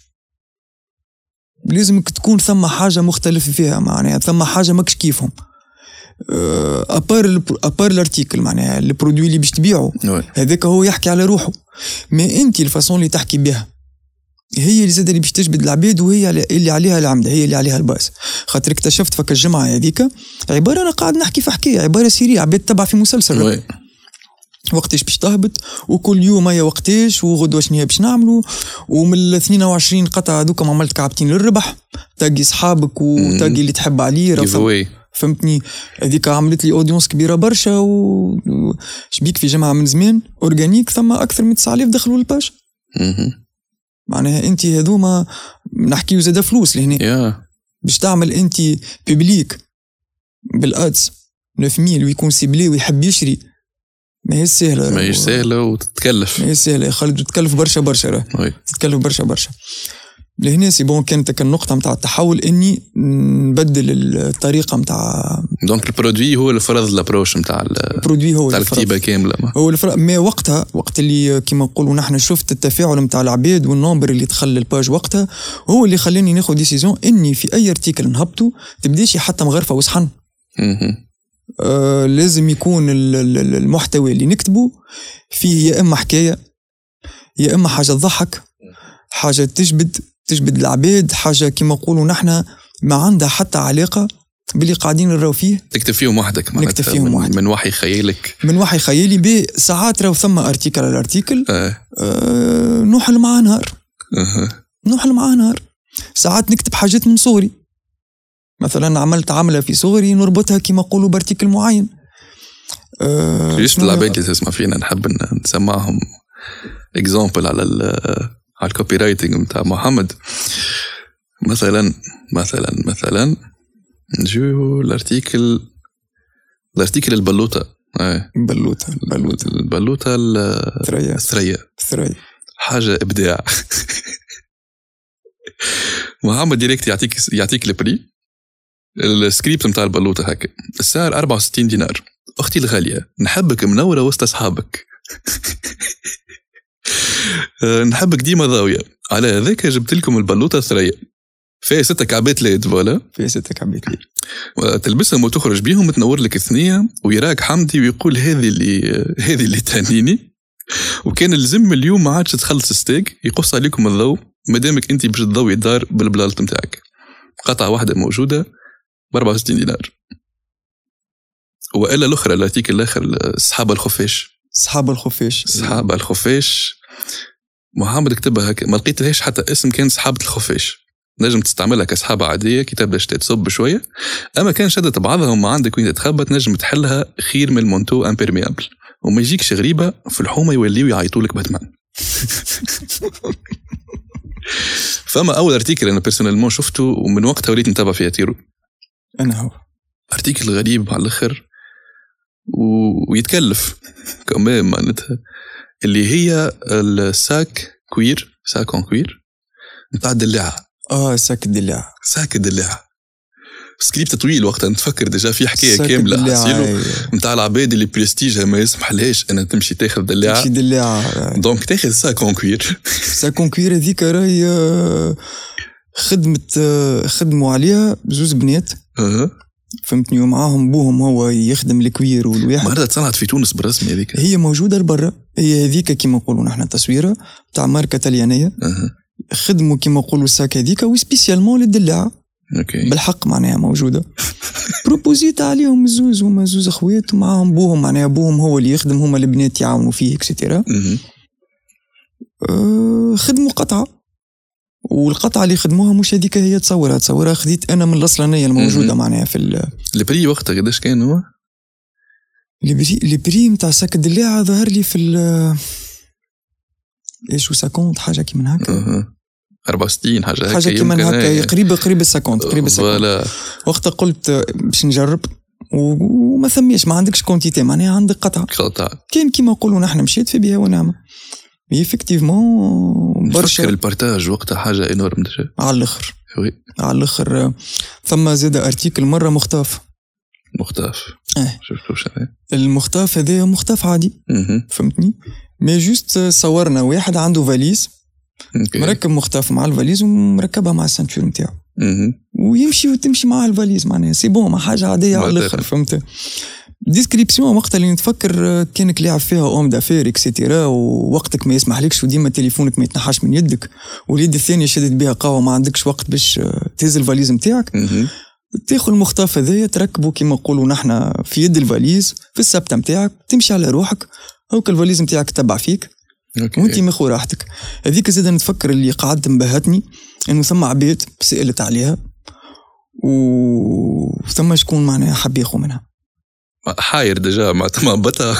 S1: لازمك تكون ثم حاجه مختلف فيها معناها ثم حاجه ماكش كيفهم آه، ابار الب- ابار الارتيكل معناها البرودوي اللي باش تبيعه
S2: وي.
S1: هذاك هو يحكي على روحه ما انت الفاسون اللي تحكي بها هي اللي زاد اللي باش تجبد العباد وهي على- اللي عليها العمده هي اللي عليها الباس خاطر اكتشفت فك الجمعه هذيك عباره انا قاعد نحكي في حكايه عباره سيريه عباد تبع في مسلسل
S2: وي.
S1: وقتاش باش تهبط وكل يوم هي وقتاش وغدوه شنو هي باش نعملوا ومن ال 22 قطعه هذوك ما عملت كعبتين للربح تاقي صحابك وتاقي اللي تحب عليه راه
S2: جيف
S1: ثم-
S2: اواي
S1: فهمتني هذيك عملت لي اودينس كبيره برشا و- و- شبيك في جمعه من زمان اورجانيك ثم اكثر من 9000 دخلوا الباج
S2: مهم.
S1: معناها انت هذوما نحكيو زاد فلوس لهنا
S2: يا
S1: باش تعمل انت بيبليك بالادس 9000 ويكون سيبلي ويحب يشري ما هي سهله
S2: ماهيش سهله وتتكلف
S1: ما هي سهله يا خالد وتكلف برشا برشا راه
S2: وي.
S1: تتكلف برشا برشا لهنا سي بون كانت هكا النقطه نتاع التحول اني نبدل الطريقه نتاع
S2: دونك البرودوي هو الفرض الابروش نتاع ال-
S1: برودوي هو
S2: نتاع
S1: الفرق.
S2: الكتيبه كامله ما.
S1: هو الفرق ما وقتها وقت اللي كيما نقولوا نحن شفت التفاعل نتاع العباد والنومبر اللي دخل الباج وقتها هو اللي خلاني ناخذ ديسيزيون اني في اي ارتيكل نهبطه تبداش حتى مغرفه وصحن
S2: مهم.
S1: آه لازم يكون ال- ال- ال- المحتوى اللي نكتبه فيه يا اما حكايه يا اما حاجه تضحك حاجه تجبد تجبد العباد حاجه كما نقولوا نحن ما عندها حتى علاقه باللي قاعدين نراو فيه
S2: تكتب فيهم وحدك
S1: نكتب
S2: معناتها
S1: فيهم
S2: من-
S1: وحدي.
S2: من وحي خيالك
S1: من وحي خيالي بي ساعات راهو ثم ارتيكل على ارتيكل
S2: آه.
S1: أه نوحل معاه نهار
S2: آه.
S1: نوحل معاه نهار ساعات نكتب حاجات من صغري مثلا عملت عمله في صغري نربطها كما نقولوا بارتيكل معين أه
S2: جست
S1: شنو
S2: العباد اللي تسمع فينا نحب ن- نسمعهم اكزامبل على ال آه، على الكوبي رايتنج نتاع محمد مثلا مثلا مثلا نجيو الارتيكل الارتيكل البلوطه آه.
S1: بلوتة بلوتة
S2: البلوطه
S1: ثريا
S2: الثريه
S1: ثريا
S2: حاجه ابداع محمد ديريكت يعطيك يعطيك البري السكريبت نتاع البلوطه هكا السعر 64 دينار اختي الغاليه نحبك منوره وسط اصحابك آه، نحبك ديما ضاويه على هذاك جبت لكم البلوطه ثريا فيها ستة كعبات ليد فوالا
S1: في ستة كعبات لي
S2: آه، تلبسهم وتخرج بيهم تنور لك الثنية ويراك حمدي ويقول هذه اللي آه، هذه اللي تهنيني وكان لزم اليوم ما عادش تخلص ستيك يقص عليكم الضوء مادامك انت باش تضوي الدار بالبلاط نتاعك قطعة واحدة موجودة ب 64 دينار والا الاخرى الارتيكل الاخر السحابة الخفاش
S1: صحاب الخفاش
S2: السحابة الخفاش محمد كتبها هكا ما لقيت لهاش حتى اسم كان سحابة الخفاش نجم تستعملها كسحابة عادية كي تبدا شتا تصب شوية أما كان شدت بعضها وما عندك وين تتخبى تنجم تحلها خير من المونتو امبيرميابل وما يجيكش غريبة في الحومة يوليو يعيطوا لك باتمان فما أول ارتيكل أنا بيرسونيلمون شفته ومن وقتها وليت نتابع فيها تيرو
S1: انا هو
S2: ارتيكل غريب على الاخر و... ويتكلف كمان معناتها اللي هي الساك كوير ساك اون كوير نتاع الدلاعه
S1: اه ساك الدلاع
S2: ساك الدلاعه سكريبت طويل وقتها نتفكر ديجا في حكايه
S1: ساك إيه.
S2: كامله
S1: الدلاع،
S2: حسيلو
S1: أي.
S2: نتاع العباد اللي بريستيجها ما يسمحلهاش انها تمشي تاخذ دلاعه
S1: شي دلاع
S2: دونك تاخذ ساك اون كوير
S1: ساكون كوير هذيك راهي آه، خدمة آه، خدموا عليها زوز بنات
S2: أها.
S1: فهمتني ومعاهم بوهم هو يخدم الكوير والواحد
S2: معناتها تصنعت في تونس بالرسمي هذيك
S1: هي موجودة لبرا هي هذيك كيما نقولوا نحن تصويرة تاع ماركة طليانية
S2: أها.
S1: خدموا كيما نقولوا الساك هذيك وسبيسيالمون للدلاعة
S2: اوكي
S1: بالحق معناها موجوده بروبوزيت عليهم زوز هما زوز اخوات ومعاهم بوهم معناها بوهم هو اللي يخدم هما البنات يعاونوا فيه اكسيتيرا
S2: أها.
S1: أه خدموا قطعه والقطعه اللي خدموها مش هذيك هي تصورها تصورها خديت انا من الاصلانيه الموجوده
S2: مهم.
S1: معناها في ال-
S2: البري وقتها قداش كان هو؟
S1: البري البري نتاع ساك الدلاعه ظهر لي في ال- ايش وساكونت حاجه كيما هكا
S2: أها. 64 حاجه هكا
S1: حاجه
S2: يمكن
S1: كيما
S2: هي.
S1: هكا قريبه قريبه ساكونت
S2: أه،
S1: قريبه ساكونت
S2: فوالا
S1: وقتها قلت آه، باش نجرب و- وما ثميش ما عندكش كونتيتي معناها عندك قطعه
S2: قطع
S1: كان كيما نقولوا نحن مشيت في بها ونعمه مي ايفيكتيفمون
S2: برشا
S1: برشا
S2: البارتاج وقتها حاجه انورم ديجا
S1: على الاخر
S2: وي
S1: على الاخر آه، ثم زاد ارتيكل مره مختاف
S2: مختلف
S1: إيه.
S2: شفتوا شنو هي؟
S1: المختاف هذا مختاف عادي
S2: مهم.
S1: فهمتني مي جوست آه، صورنا واحد عنده فاليز
S2: أوكي.
S1: مركب مختاف مع الفاليز ومركبها مع السانتور نتاعو
S2: مهم.
S1: ويمشي وتمشي مع الفاليز معناها سي بون ما حاجه عاديه على
S2: بعد
S1: الاخر
S2: آخر.
S1: فهمت ديسكريبسيون وقت اللي نتفكر آه، كانك لاعب فيها اوم دافير اكسيتيرا ووقتك ما يسمحلكش وديما تليفونك ما يتنحاش من يدك واليد الثانيه شدت بها قهوه ما عندكش وقت باش آه، تهز الفاليز نتاعك
S2: مهم.
S1: تاخذ المختاف هذايا تركبه كيما نقولوا نحن في يد الفاليز في السبته نتاعك تمشي على روحك هوك الفاليز نتاعك تبع فيك
S2: أوكي.
S1: وانت مخو راحتك هذيك زاد نتفكر اللي قعدت مبهتني انه ثم عباد سالت عليها و ثم شكون معناها حب ياخو منها
S2: حاير ديجا مع تمابتها
S1: أه.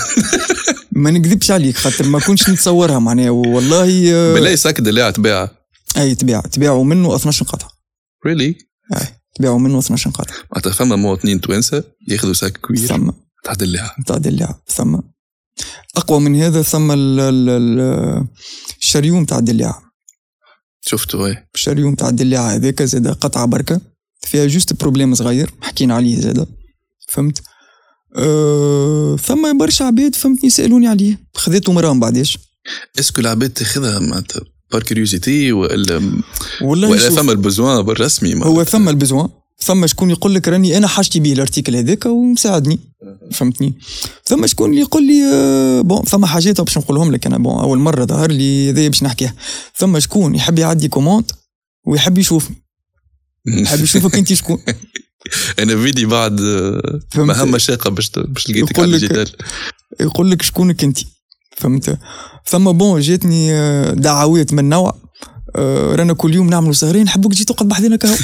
S1: ما نكذبش عليك خاطر ما كنتش نتصورها معناها والله آه،
S2: بلاي ساك دلاع تباع
S1: اي تباع تباعوا منه 12 قطعه
S2: ريلي
S1: تباعوا منه 12 قطعه
S2: معناتها فما مواطنين توانسه ياخذوا ساك كبير
S1: ثم
S2: تاع دلاع
S1: نتاع الدلاع ثم اقوى من هذا ثم ال- ال- ال- الشريوم تاع الدلاع
S2: شفتوا ايه
S1: الشريوم تاع الدلاع هذاك زاد قطعه بركه فيها جوست بروبليم صغير حكينا عليه زاد فهمت أه ثم برشا عباد فهمتني سالوني عليه خذيته مرة من بعديش
S2: اسكو العباد تاخذها معناتها بار كيوريوزيتي والا
S1: والله
S2: ولا
S1: شوف،
S2: فما البزوان بالرسمي
S1: هو ثم البزوان ثم شكون يقول لك راني انا حاجتي به الارتيكل هذاك ومساعدني فهمتني ثم شكون اللي يقول لي آه، بون ثم حاجات باش نقولهم لك انا بون اول مره ظهر لي هذايا باش نحكيها ثم شكون يحب يعدي كوموند ويحب يشوفني يحب يشوفك انت شكون
S2: انا فيدي بعد
S1: فهمت؟
S2: مهمه شاقه باش باش لقيتك
S1: يقول
S2: على
S1: لك-
S2: الجدال
S1: يقول لك شكونك انت فهمت ثم بون جاتني آه، دعوات من نوع آه، رانا كل يوم نعملوا سهرين حبوك تجي تقعد بحذنا كهو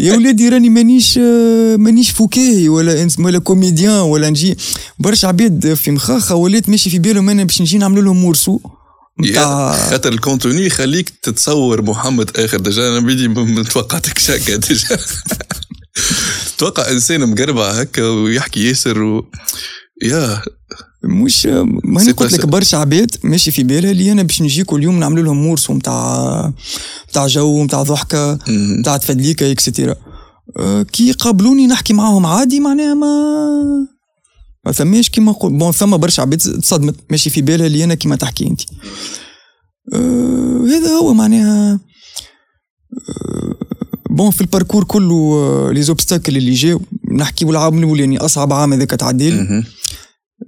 S1: يا ولادي راني مانيش آه، مانيش فكاهي ولا إنس- ولا كوميديان ولا نجي برشا عباد في مخاخه ولات ماشي في بالهم انا باش نجي نعمل لهم مرسو متاع
S2: خاطر الكونتوني يخليك تتصور محمد اخر ديجا انا بيدي ما توقعتكش هكا ديجا تتوقع انسان مقربع هكا ويحكي ياسر و... يا
S1: مش آه، ما انا
S2: سي
S1: قلت لك
S2: باسي.
S1: برشا عباد ماشي في بالها اللي انا باش نجي كل يوم نعمل لهم مرسو نتاع نتاع جو نتاع ضحكه
S2: مم.
S1: نتاع تفدليكا اكسترا أه، كي قابلوني نحكي معاهم عادي معناها ما ما ثماش كيما نقول بون ثم برشا عباد تصدمت ماشي في بالها اللي انا كيما تحكي انت أه، هذا هو معناها أه، بون في الباركور كله أه، لي زوبستاكل اللي جاو نحكي العام الاولاني اصعب عام هذاك تعديل
S2: مهم.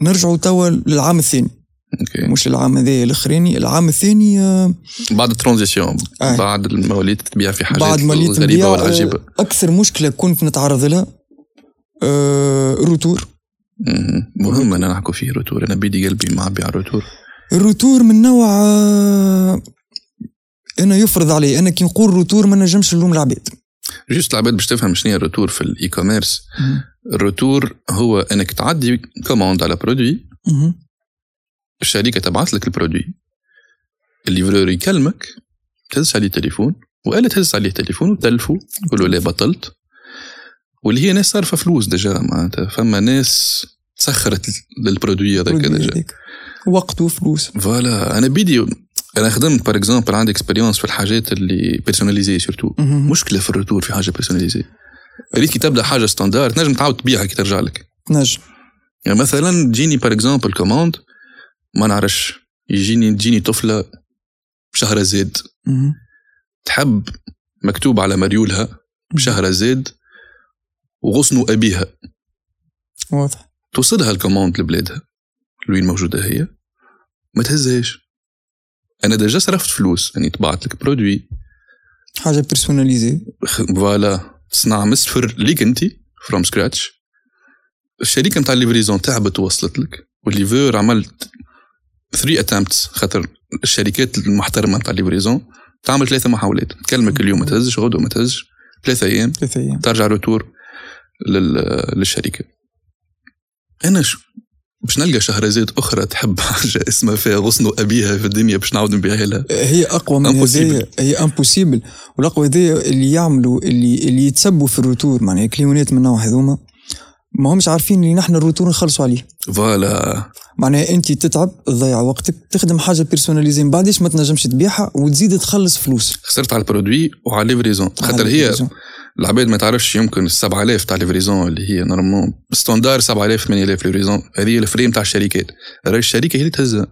S1: نرجعوا توا للعام الثاني
S2: اوكي
S1: مش العام هذا الاخراني العام الثاني آه،
S2: بعد الترانزيسيون
S1: آه.
S2: بعد ما وليت تبيع في حاجات
S1: بعد ما ليت
S2: غريبه
S1: نبيع،
S2: والعجيبه
S1: آه، اكثر مشكله كنت نتعرض لها آه، الروتور
S2: مهم. مهم انا نحكوا فيه روتور انا بيدي قلبي معبي على الروتور
S1: الروتور من نوع آه، انا يفرض علي انا كي نقول روتور ما نجمش نلوم العباد
S2: جوست العباد باش تفهم شنو هي الروتور في الاي كوميرس الروتور هو انك تعدي كوموند على برودوي
S1: مهم.
S2: الشركه تبعث لك البرودوي الليفرور يكلمك تهز عليه التليفون وقال تهز عليه التليفون وتلفو تقول له لا بطلت واللي هي ناس صارفه فلوس ديجا معناتها فما ناس سخرت للبرودوي هذاك
S1: رودي
S2: ديجا
S1: هذيك. وقت وفلوس
S2: فوالا انا بيدي انا خدمت باغ اكزومبل عندي اكسبيريونس في الحاجات اللي بيرسوناليزي سورتو
S1: مهم.
S2: مشكله في الرتور في حاجه بيرسوناليزي ريت كي تبدا حاجه ستاندار تنجم تعاود تبيعها كي ترجع لك
S1: نجم
S2: يعني مثلا تجيني باغ اكزومبل كوموند ما نعرفش يجيني تجيني طفله بشهرزاد
S1: مهم.
S2: تحب مكتوب على مريولها بشهرزاد وغصن ابيها
S1: واضح
S2: توصلها الكوموند لبلادها لوين موجودة هي ما تهزهاش أنا ديجا صرفت فلوس يعني طبعت لك برودوي
S1: حاجه بيرسوناليزي
S2: خ- فوالا تصنع من الصفر ليك أنت فروم سكراتش الشركة نتاع الليفريزون تعبت ووصلت لك والليفور عملت 3 اتمبتس خاطر الشركات المحترمة نتاع الليفريزون تعمل ثلاثة محاولات تكلمك اليوم ما تهزش غدوة ما تهزش ثلاثة أيام
S1: ثلاث ايام
S2: ترجع روتور لل- للشركه انا ش... باش نلقى شهرزاد اخرى تحب حاجه اسمها فيها غصن ابيها في الدنيا باش نعاود نبيعها لها
S1: هي اقوى من هذايا
S2: Impossible.
S1: هي امبوسيبل والاقوى هذايا اللي يعملوا اللي اللي يتسبوا في الروتور معناها كليونات من نوع هذوما ما همش عارفين اللي نحن الروتور نخلصوا عليه
S2: فوالا
S1: معناها انت تتعب تضيع وقتك تخدم حاجه بيرسوناليزي من بعديش ما تنجمش تبيعها وتزيد تخلص فلوس
S2: خسرت على البرودوي وعلى ليفريزون خاطر هي العباد ما تعرفش يمكن ال 7000 تاع ليفريزون اللي هي نورمالمون ستاندار 7000 8000 ليفريزون هذه هي الفريم تاع الشركات راهي الشركه هي اللي تهزها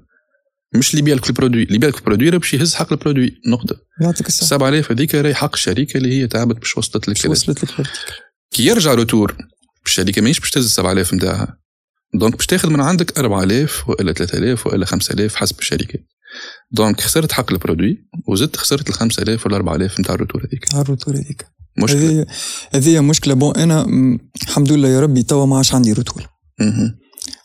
S2: مش اللي يبيع لك البرودوي اللي يبيع لك البرودوي راه باش يهز حق البرودوي نقطه
S1: يعطيك الصحه
S2: 7000 هذيك راهي حق الشركه اللي هي تعبت باش وصلت لك
S1: مش
S2: لهذا.
S1: وصلت لك خيرتك
S2: كي يرجع روتور الشركه ماهيش باش تهز 7000 نتاعها دونك باش تاخذ من عندك 4000 والا 3000 والا 5000 حسب الشركه دونك خسرت حق البرودوي وزدت خسرت ال 5000 ولا 4000 نتاع الروتور هذيك
S1: على الروتور هذيك
S2: مشكله
S1: هذه هذه مشكله بون انا م، الحمد لله يا ربي توا ما عادش عندي روتور
S2: مهم.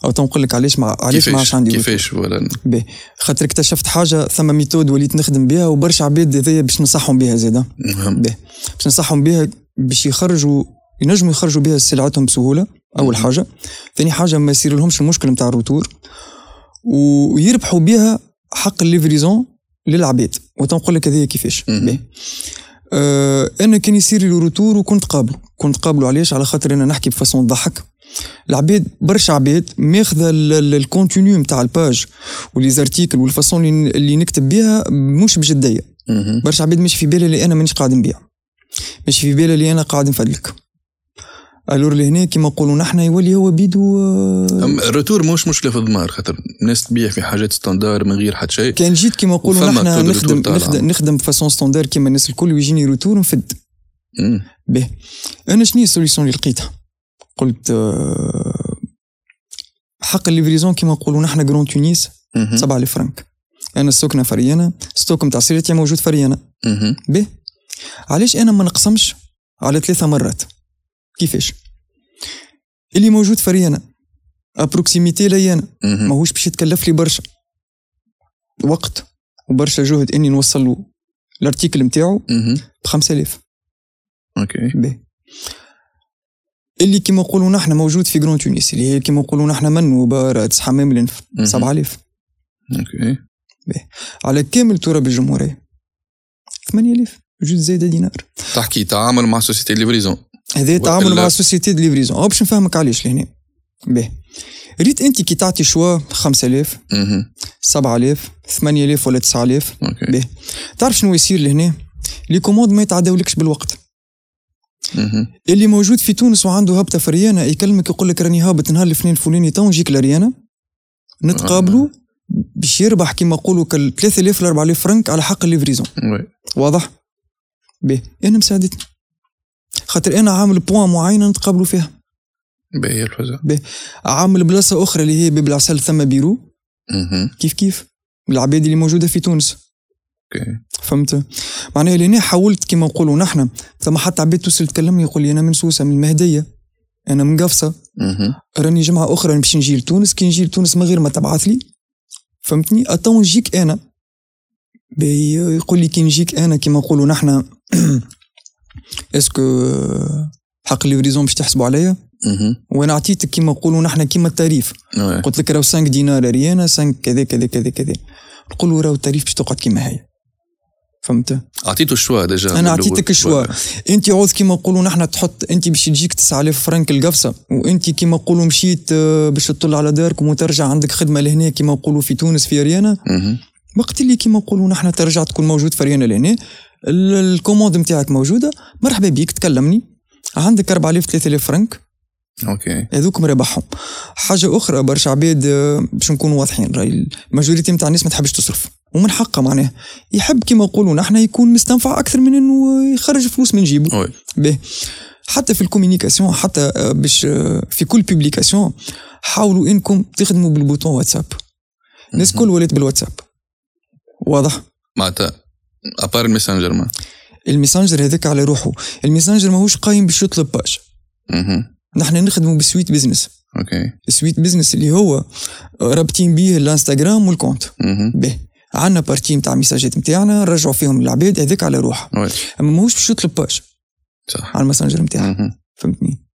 S1: او تو نقول لك علاش ما علاش ما
S2: كيفاش
S1: عادش عندي روتور
S2: كيفاش ولا
S1: باهي. خاطر اكتشفت حاجه ثم ميثود وليت نخدم بها وبرشا عباد هذايا باش ننصحهم بها زاده
S2: مهم.
S1: باهي. باش ننصحهم بها باش يخرجوا ينجموا يخرجوا بها سلعتهم بسهوله اول
S2: مم.
S1: حاجه ثاني حاجه ما يصير لهمش المشكل نتاع الروتور و- ويربحوا بها حق الليفريزون للعباد وتنقول لك هذه كيفاش
S2: مم.
S1: باهي. آه انا كان يصير لي روتور وكنت قابله كنت قابله علاش على خاطر انا نحكي بفاسون تضحك العباد برشا عباد ماخذه ال- ال- الكونتينيو نتاع الباج وليزارتيكل والفاسون اللي- اللي نكتب بها مش بجديه
S2: مهم.
S1: برشا عباد مش في بالها اللي انا مانيش قاعد نبيع مش في بالها اللي انا قاعد نفدلك الور لهنا كيما نقولوا نحن يولي هو بيدو آه،
S2: أما الروتور مش مشكله في الضمار خاطر الناس تبيع في حاجات ستاندار من غير حد شيء
S1: كان جيت كيما نقولوا
S2: وفما
S1: نحن
S2: كود
S1: نخدم
S2: روتور طالع.
S1: نخدم نخدم فاسون ستاندار كيما الناس الكل ويجيني روتور ونفد
S2: مم.
S1: به انا شنو هي السوليسيون اللي لقيتها قلت آه، حق الليفريزون كيما نقولوا نحن جرون تونس 7000 فرنك انا السكنه فريانه ستوك نتاع سيرتي موجود فريانه
S2: مهم.
S1: به علاش انا ما نقسمش على ثلاثه مرات كيفاش اللي موجود فريانه ابروكسيميتي ليانا
S2: مهم.
S1: ماهوش باش يتكلف لي برشا وقت وبرشا جهد اني نوصل له الارتيكل نتاعو
S2: مهم.
S1: ب 5000
S2: اوكي
S1: باهي اللي كيما نقولوا نحن موجود في جرون تونس اللي هي كيما نقولوا نحن منو بارتس حمام الانف
S2: مهم.
S1: 7000
S2: اوكي
S1: على كامل تراب الجمهوريه 8000 جوج زايده دينار
S2: تحكي تعامل مع سوسيتي ليفريزون
S1: هذا تعامل
S2: وإلا-
S1: مع سوسيتي دي ليفريزون أو باش نفهمك علاش لهنا باهي ريت انت كي تعطي شوا 5000
S2: مهم.
S1: 7000 8000 ولا 9000
S2: اوكي
S1: باهي تعرف شنو يصير لهنا لي كوموند ما يتعداولكش بالوقت
S2: مهم.
S1: اللي موجود في تونس وعنده هبطه فريانه يكلمك يقول لك راني هابط نهار الاثنين الفلاني تو نجيك لريانه نتقابلوا باش يربح كيما نقولوا كال 3000 ل 4000 فرنك على حق الليفريزون
S2: وي.
S1: واضح باهي انا مساعدتني خاطر انا عامل بوان معينه نتقابلوا فيها
S2: باهي الفزع
S1: عامل بلاصه اخرى اللي هي باب العسل ثم بيرو
S2: مهم.
S1: كيف كيف العباد اللي موجوده في تونس
S2: اوكي
S1: فهمت معناها لهنا حاولت كيما نقولوا نحن ثم حتى عباد توصل تكلمني يقول لي انا من سوسه من المهديه انا من قفصه
S2: مهم.
S1: راني جمعه اخرى باش نجي لتونس كي نجي لتونس من غير ما تبعث لي فهمتني اتو نجيك انا باهي يقول لي كي نجيك انا كيما نقولوا نحن اسكو حق ليفريزون باش تحسبوا عليا
S2: مهم.
S1: وانا عطيتك كيما نقولوا نحن كيما التاريف
S2: وي.
S1: قلت لك راهو 5 دينار ريانا 5 كذا كذا كذا كذا نقول له راهو التاريف باش تقعد كيما هي فهمت
S2: اعطيته الشوا ديجا
S1: أنا أعطيتك الشوا. انت عوض كيما نقولوا نحن تحط انت باش تجيك 9000 فرنك القفصه وانت كيما نقولوا مشيت آه، باش تطل على داركم وترجع عندك خدمه لهنا كيما نقولوا في تونس في ريانا
S2: مهم.
S1: وقت اللي كيما نقولوا نحن ترجع تكون موجود في ريانا لهنا ال- الكوموند نتاعك موجوده مرحبا بيك تكلمني عندك 4000 3000 فرنك
S2: اوكي
S1: هذوك مربحهم حاجه اخرى برشا عباد آه، باش نكونوا واضحين راي الماجوريتي نتاع الناس ما تحبش تصرف ومن حقه معناه يحب كيما نقولوا نحن يكون مستنفع اكثر من انه يخرج فلوس من جيبه
S2: وي.
S1: به حتى في الكوميونيكاسيون حتى آه، باش آه، في كل بوبليكاسيون حاولوا انكم تخدموا بالبوتون واتساب الناس
S2: مهم.
S1: كل ولات بالواتساب واضح
S2: معناتها ابار الميسنجر ما
S1: الميسنجر هذاك على روحه الميسنجر ماهوش قايم باش يطلب باج
S2: مهم.
S1: نحن نخدموا بسويت بزنس
S2: اوكي
S1: السويت بزنس اللي هو رابطين بيه الانستغرام والكونت
S2: مهم.
S1: به عندنا بارتي نتاع ميساجات نتاعنا نرجعوا فيهم العباد هذاك على روحه
S2: وي.
S1: اما ماهوش باش يطلب باج
S2: صح
S1: على الماسنجر نتاعنا
S2: مهم.
S1: فهمتني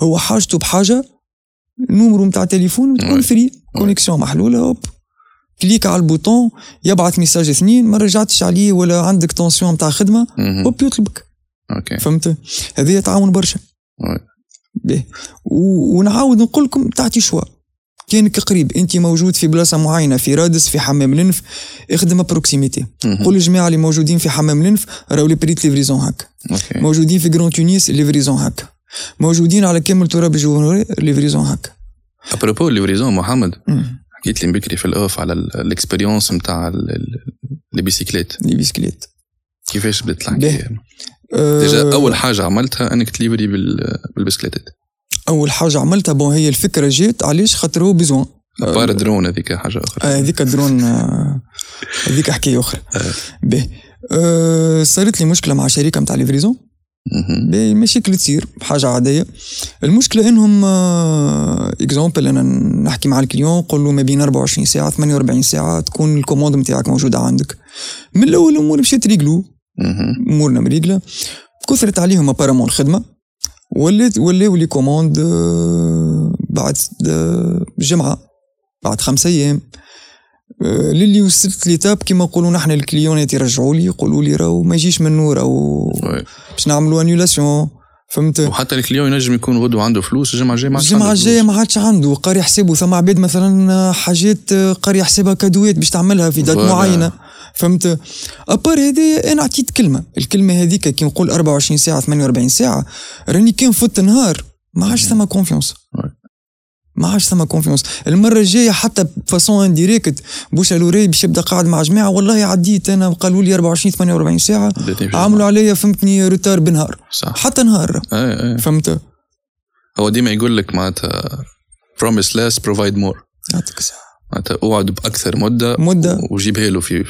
S1: هو حاجته بحاجه نومرو نتاع تليفون
S2: وي.
S1: وتكون فري كونيكسيون محلوله هوب كليك على البوطون يبعث ميساج اثنين ما رجعتش عليه ولا عندك تونسيون نتاع خدمه
S2: مهم.
S1: هوب يطلبك
S2: اوكي
S1: فهمت هذه تعاون برشا
S2: وي.
S1: باهي. و- ونعاود نقول لكم تعطي شوا كانك قريب انت موجود في بلاصه معينه في رادس في حمام الانف اخدم بروكسيميتي
S2: مهم.
S1: قول الجماعه اللي موجودين في حمام الانف راهو لي بريت ليفريزون هاك
S2: اوكي
S1: موجودين في جرون تونس ليفريزون هاك موجودين على كامل تراب الجمهوريه ليفريزون هاك
S2: ابروبو ليفريزون محمد
S1: مم.
S2: حكيت لي من بكري في الاوف على ال- الاكسبيريونس نتاع ال- ال- لي بيسيكليت
S1: لي بيسكليت أه،
S2: كيفاش بدات
S1: باهي.
S2: الحكايه ديجا اول حاجه عملتها انك تليفري بال- بالبسكليتات
S1: اول حاجه عملتها بون هي الفكره جات علاش خاطر هو بيزوان آه،
S2: بار درون هذيك حاجه اخرى
S1: آه، هذيك درون آه، هذيك حكايه اخرى به آه، صارت لي مشكله مع شركه نتاع ليفريزون
S2: مهم.
S1: باهي مشاكل تصير حاجه عاديه المشكله انهم اكزومبل انا آه، نحكي مع الكليون نقول له ما بين 24 ساعه 48 ساعه تكون الكوموند نتاعك موجوده عندك من الاول الامور مشات ريقلو
S2: مهم.
S1: امورنا مريقله كثرت عليهم ابارامون الخدمه ولات ولاو لي كوموند آه، بعد آه، جمعه بعد خمسة ايام آه، للي وصلت ليتاب كيما نقولوا نحن الكليونات يرجعوا لي يقولوا لي راهو ما يجيش منه راهو
S2: وي.
S1: باش نعملوا انيولاسيون فهمت
S2: وحتى الكليون ينجم يكون غدوه عنده فلوس الجمعه الجايه ما عادش
S1: الجمعه
S2: عنده
S1: الجايه ما عادش عنده قاري حسابه ثم عباد مثلا حاجات قاري حسابها كادوات باش تعملها في دات
S2: فوالا.
S1: معينه فهمت ابار هذا انا عطيت كلمه الكلمه هذيك كي نقول 24 ساعه 48 ساعه راني كان فوت نهار ما عادش ثم كونفيونس
S2: Ouais.
S1: ما عادش ثم كونفيونس المره الجايه حتى بفاسون انديريكت بوش على الوري باش يبدا قاعد مع جماعه والله عديت انا قالوا لي 24 48 ساعه
S2: فلوس. داتني في الجمعة.
S1: عملوا عليا فهمتني روتار بنهار
S2: صح
S1: حتى نهار
S2: اي اي
S1: فهمت
S2: هو ديما يقول لك معناتها بروميس ليس بروفايد مور
S1: يعطيك الصحة.
S2: معناتها اوعد باكثر مده
S1: مده
S2: وجيبها له في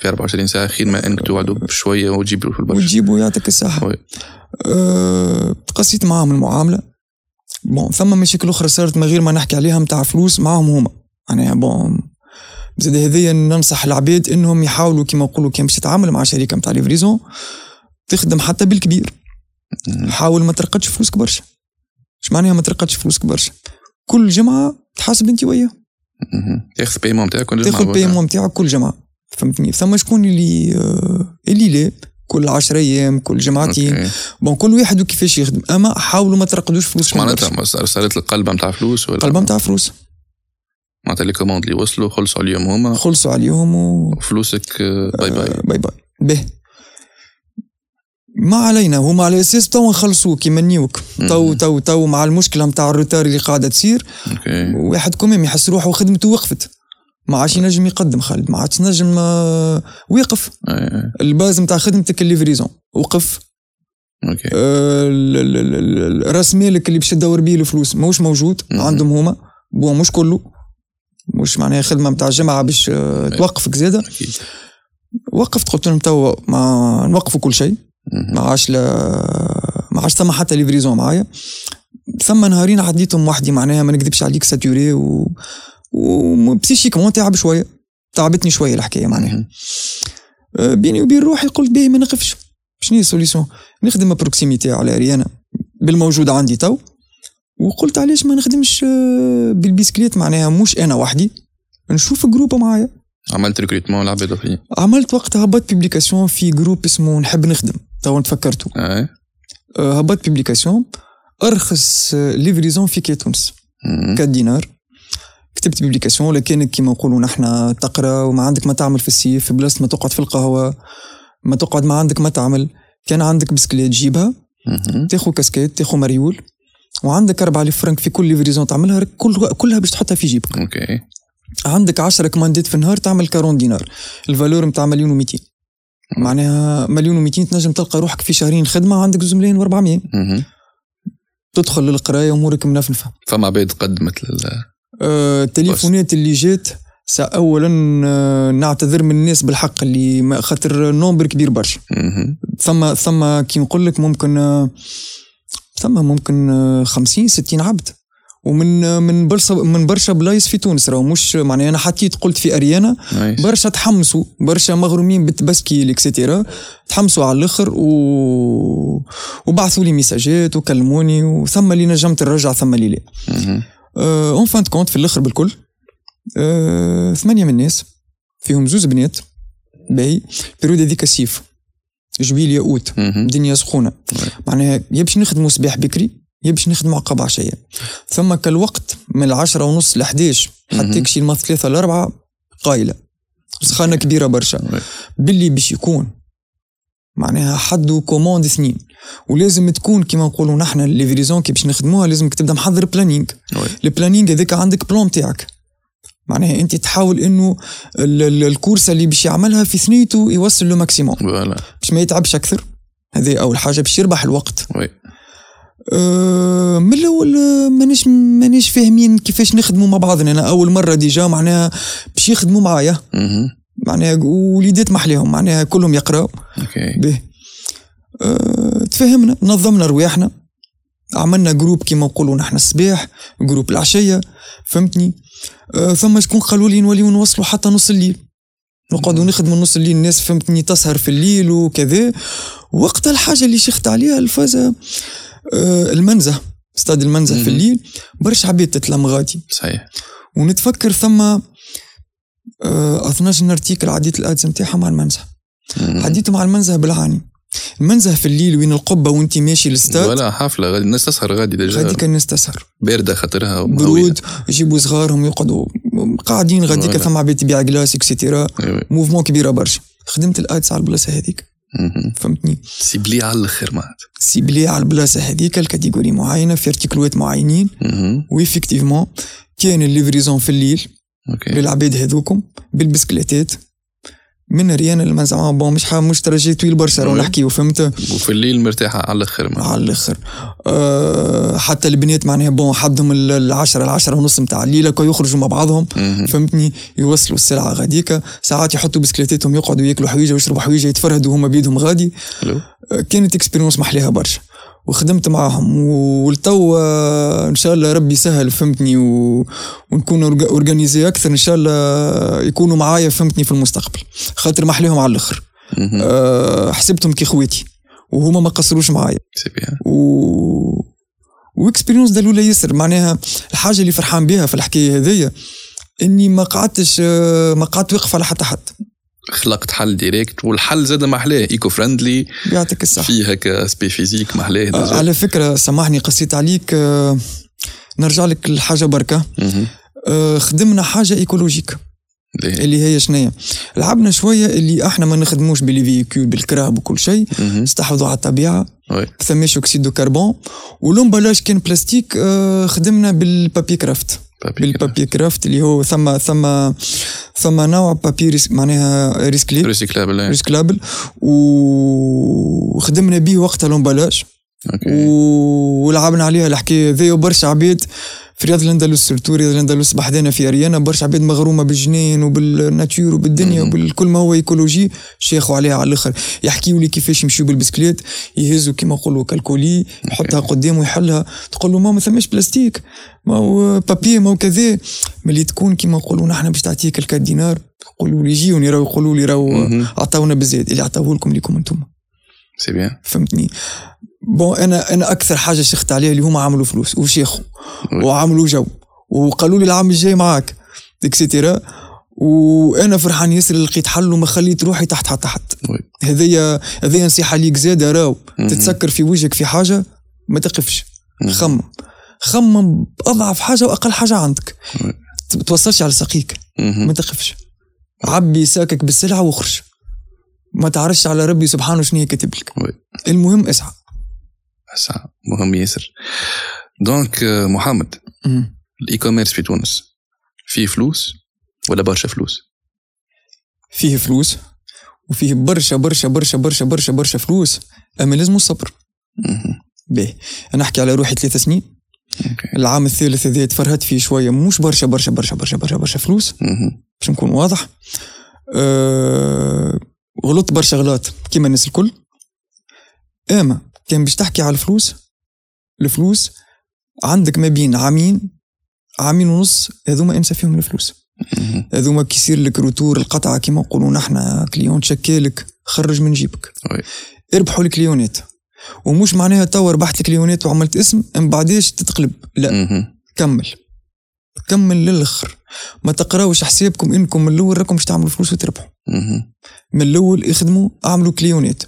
S2: في 24 ساعه خير ما انك توعده بشويه وتجيب له في البرشا
S1: وتجيبه يعطيك الصحة
S2: وي.
S1: أه تقسيت معاهم المعاملة بون ثم مشاكل أخرى صارت من غير ما نحكي عليها متاع فلوس معاهم هما يعني بون زاد هذايا ننصح العباد انهم يحاولوا كما نقولوا كان باش تتعامل مع شركه متاع ليفريزون تخدم حتى بالكبير
S2: مم.
S1: حاول ما ترقدش فلوسك برشا اش معناها ما ترقدش فلوسك برشا كل جمعه تحاسب انت وياه
S2: مهم. تاخذ بيمون بتاعك ولا
S1: تاخذ بي ام نتاعك كل جمعه فهمتني ثم شكون اللي آه، اللي لا كل 10 ايام كل جمعتين بون كل واحد وكيفاش يخدم اما حاولوا ما ترقدوش
S2: مش
S1: فلوسكم برشا
S2: معناتها صار- صارت القلبه نتاع فلوس ولا
S1: قلبها نتاع فلوس
S2: معناتها لي كوموند اللي وصلوا خلصوا عليهم هما
S1: خلصوا عليهم و
S2: فلوسك آه، باي باي
S1: باي باي به ما علينا هما على اساس تو نخلصوك يمنيوك تو
S2: مم.
S1: تو تو مع المشكله نتاع الروتار اللي قاعده تصير
S2: اوكي
S1: واحد كوميم يحس روحه خدمته وقفت ما عادش ينجم يقدم خالد ما عادش نجم آه، ويقف
S2: آه،
S1: الباز نتاع خدمتك الليفريزون وقف
S2: اوكي
S1: آه، ال- ال- ال- ال- ال- آه، راس مالك اللي باش تدور بيه الفلوس ماهوش موجود
S2: مم.
S1: عندهم هما بون مش كله مش معناها خدمه نتاع جماعه باش آه، توقفك زاده
S2: اكيد
S1: وقفت قلت لهم توا ما نوقفوا كل شيء
S2: مهم.
S1: ما عادش لا- ما عادش ثم حتى ليفريزون معايا ثم نهارين عديتهم وحدي معناها ما نكذبش عليك ساتوري و وبسيشيكمون تعب شويه تعبتني شويه الحكايه معناها
S2: مهم.
S1: أه، بيني وبين روحي قلت باهي ما نقفش شنو هي السوليسيون نخدم بروكسيميتي على ريانا بالموجود عندي تو وقلت علاش ما نخدمش أه، بالبيسكليت معناها مش انا وحدي نشوف جروب معايا
S2: عملت ريكروتمون لعبه اخرين
S1: عملت وقتها هبط بيبليكاسيون في جروب اسمه نحب نخدم تو تفكرته
S2: آه.
S1: آه، هبط بيبليكاسيون ارخص آه، ليفريزون في كي تونس
S2: مهم.
S1: 4 دينار كتبت بيبليكاسيون ولا كانك كيما نقولوا نحنا تقرا وما عندك ما تعمل في السيف بلاصه ما تقعد في القهوه ما تقعد ما عندك ما تعمل كان عندك بسكليت جيبها
S2: مهم.
S1: تاخو كاسكيت تاخو مريول وعندك 4000 فرنك في كل ليفريزون تعملها راك كل كلها باش تحطها في جيبك
S2: اوكي
S1: عندك 10 كماندات في النهار تعمل 40 دينار الفالور نتاع مليون و200 معناها مليون و200 تنجم تلقى روحك في شهرين خدمه عندك زوز ملايين و400
S2: مهم.
S1: تدخل للقرايه امورك منفنفه
S2: فما عباد قدمت لل
S1: أه التليفونات اللي جات سا اولا آه، نعتذر من الناس بالحق اللي ما- خاطر نومبر كبير برشا
S2: مهم.
S1: ثم ثم كي نقول لك ممكن آه، ثم ممكن آه، 50 60 عبد ومن آه، من برشا من برشا بلايص في تونس راهو مش معناها انا حطيت قلت في اريانا
S2: نايس.
S1: برشا تحمسوا برشا مغرومين بالتبسكي اكسيتيرا تحمسوا على الاخر و... وبعثوا لي ميساجات وكلموني وثم اللي نجمت نرجع ثم اللي لا
S2: مهم.
S1: آه، اون فان كونت في الاخر بالكل أه ثمانيه من الناس فيهم زوز بنات باهي بيريود هذيك السيف جويليا اوت
S2: مهم.
S1: الدنيا سخونه معناها يا باش نخدموا صباح بكري يا باش نخدموا عقب عشيه ثم كالوقت من العشرة ونص ل 11
S2: مهم.
S1: حتى كشي الماضي ثلاثة لأربعة قايلة سخانة كبيرة برشا
S2: وي.
S1: باللي باش يكون معناها حد كوموند اثنين ولازم تكون كيما نقولوا نحن الليفريزون كي باش نخدموها لازمك تبدا محضر بلانينغ
S2: وي.
S1: البلانينغ هذاك عندك بلون تاعك معناها انت تحاول انه ال- ال- الكورسه اللي باش يعملها في ثنيته يوصل لو ماكسيموم
S2: فوالا
S1: باش ما يتعبش اكثر هذه اول حاجه باش يربح الوقت
S2: وي
S1: أه من الاول آه، مانيش مانيش فاهمين كيفاش نخدموا مع بعضنا انا اول مره ديجا معناها باش يخدموا معايا
S2: مهم.
S1: معناها وليدات محليهم معناها كلهم يقراو
S2: اوكي
S1: به أه تفهمنا نظمنا رواحنا عملنا جروب كيما نقولوا نحن الصباح جروب العشيه فهمتني أه ثم شكون قالوا لي نوليو نوصلوا حتى نص الليل نقعدوا نخدموا نص الليل الناس فهمتني تسهر في الليل وكذا وقت الحاجه اللي شخت عليها الفازه أه المنزه استاد المنزه
S2: مم.
S1: في الليل برشا عباد تتلم غادي
S2: صحيح
S1: ونتفكر ثم أه 12 ارتيكل عديت الادز نتاعها مع المنزه
S2: مهم.
S1: عديتوا مع المنزه بالعاني المنزه في الليل وين القبه وانت ماشي للستاد
S2: ولا حفله غادي الناس تسهر غادي ديجا
S1: غادي كان الناس تسهر
S2: بارده خاطرها ومهوية.
S1: برود يجيبوا صغارهم يقعدوا قاعدين غادي كان
S2: فوالا.
S1: ثم عباد تبيع جلاس اكسيتيرا
S2: وي وي.
S1: موفمون كبيره برشا خدمت الادس على البلاصه هذيك
S2: مهم.
S1: فهمتني
S2: سي بلي على الاخر معناتها
S1: سيبلي على البلاصه هذيك الكاتيجوري معينه في ارتيكلوات معينين
S2: مهم.
S1: ويفيكتيفمون كان الليفريزون في الليل
S2: اوكي
S1: للعباد هذوكم بالبسكليتات من ريان لما زعما بون مش حا- مش تراجي طويل برشا راهو
S2: وي.
S1: نحكيو فهمت
S2: وفي الليل مرتاحه على الاخر ما.
S1: على الاخر أه حتى البنات معناها بون حدهم ال- العشرة العشرة ونص نتاع الليله كي يخرجوا مع بعضهم
S2: مهم.
S1: فهمتني يوصلوا السلعه غاديكا ساعات يحطوا بسكليتاتهم يقعدوا ياكلوا حويجه ويشربوا حويجه يتفرهدوا هما بيدهم غادي
S2: حلو.
S1: أه، كانت اكسبيريونس محليها برشا وخدمت معاهم و- والتو آه، ان شاء الله ربي يسهل فهمتني و... ونكون أورج- اورجانيزي اكثر ان شاء الله يكونوا معايا فهمتني في المستقبل خاطر محليهم على الاخر
S2: مهم.
S1: أه حسبتهم كي خواتي وهما ما قصروش معايا
S2: سي بيان
S1: و واكسبيريونس دلوله ياسر معناها الحاجه اللي فرحان بها في الحكايه هذيا اني ما قعدتش آه، ما قعدت واقف على حتى حد
S2: خلقت حل ديريكت والحل زاد محلاه ايكو فريندلي
S1: يعطيك الصحه
S2: فيه هكا سبي فيزيك محلاه
S1: آه،
S2: ديجا.
S1: على فكره سامحني قصيت عليك آه، نرجع لك الحاجه بركه
S2: مهم.
S1: آه، خدمنا حاجه ايكولوجيك
S2: باهي.
S1: اللي هي شنية لعبنا شويه اللي احنا ما نخدموش بالفيكيول بالكراب وكل شيء
S2: مهم.
S1: نستحوذوا على الطبيعه
S2: وي.
S1: ثماش اكسيد دو كربون ولومبالاج كان بلاستيك آه، خدمنا بالبابي كرافت
S2: بابي كده.
S1: بالبابي كرافت اللي هو ثم ثم ثم نوع بابي ريس معناها ريسكلي
S2: ريسيكلابل إيه.
S1: ريسكلابل و- وخدمنا به وقتها لومبالاج
S2: اوكي
S1: و- ولعبنا عليها الحكايه ذي وبرشا عباد في رياض الاندلس سورتو رياض الاندلس بحذانا في اريانا برشا عباد مغرومه بالجنين وبالناتور وبالدنيا
S2: مم.
S1: وبالكل ما هو ايكولوجي شيخوا عليها على الاخر يحكيوا لي كيفاش يمشيوا بالبسكليت يهزوا كيما نقولوا كالكولي يحطها قدامه ويحلها تقول له ما ما ثماش بلاستيك ما هو بابي ما هو كذا ملي تكون كيما نقولوا نحن باش تعطيك الكاد دينار يقولوا لي جيوني راهو يقولوا لي راهو
S2: مهم.
S1: عطاونا بزيد اللي عطاوه لكم ليكم انتم
S2: سي بيان
S1: فهمتني بون انا انا اكثر حاجه شخت عليها اللي هما عملوا فلوس وشيخوا
S2: وي.
S1: وعملوا جو وقالوا لي العام الجاي معاك اكسيتيرا وانا فرحان ياسر اللي لقيت حل وما خليت روحي تحت حتى حد
S2: وي.
S1: هذيا هذيا نصيحه ليك زاده راو
S2: مهم.
S1: تتسكر في وجهك في حاجه ما تقفش
S2: مهم.
S1: خمم خمم باضعف حاجه واقل حاجه عندك
S2: وي.
S1: ما توصلش على ساقيك
S2: مهم.
S1: ما تقفش عبي ساكك بالسلعه واخرج ما تعرفش على ربي سبحانه شنو هي كاتب لك
S2: وي.
S1: المهم اسعى
S2: ساعة. مهم ياسر دونك آه، محمد الاي كوميرس في تونس فيه فلوس ولا برشا فلوس
S1: فيه فلوس وفيه برشا برشا برشا برشا برشا برشا فلوس اما لازم الصبر
S2: مهم.
S1: باهي انا احكي على روحي ثلاث سنين
S2: اوكي
S1: العام الثالث هذا تفرهدت فيه شويه مش برشا برشا برشا برشا برشا برشا فلوس
S2: مهم.
S1: باش نكون واضح أه غلطت برشا غلط كيما الناس الكل اما كان باش تحكي على الفلوس الفلوس عندك ما بين عامين عامين ونص هذوما انسى فيهم الفلوس
S2: مهم.
S1: هذوما كي يصير لك روتور القطعه كيما نقولوا نحنا كليون تشكالك خرج من جيبك
S2: وي.
S1: اربحوا الكليونات ومش معناها توا ربحت الكليونات وعملت اسم من بعديش تتقلب
S2: أه.
S1: لا
S2: مهم.
S1: كمل كمل للاخر ما تقراوش حسابكم انكم من الاول راكم باش تعملوا فلوس وتربحوا
S2: مهم.
S1: من الاول اخدموا اعملوا كليونات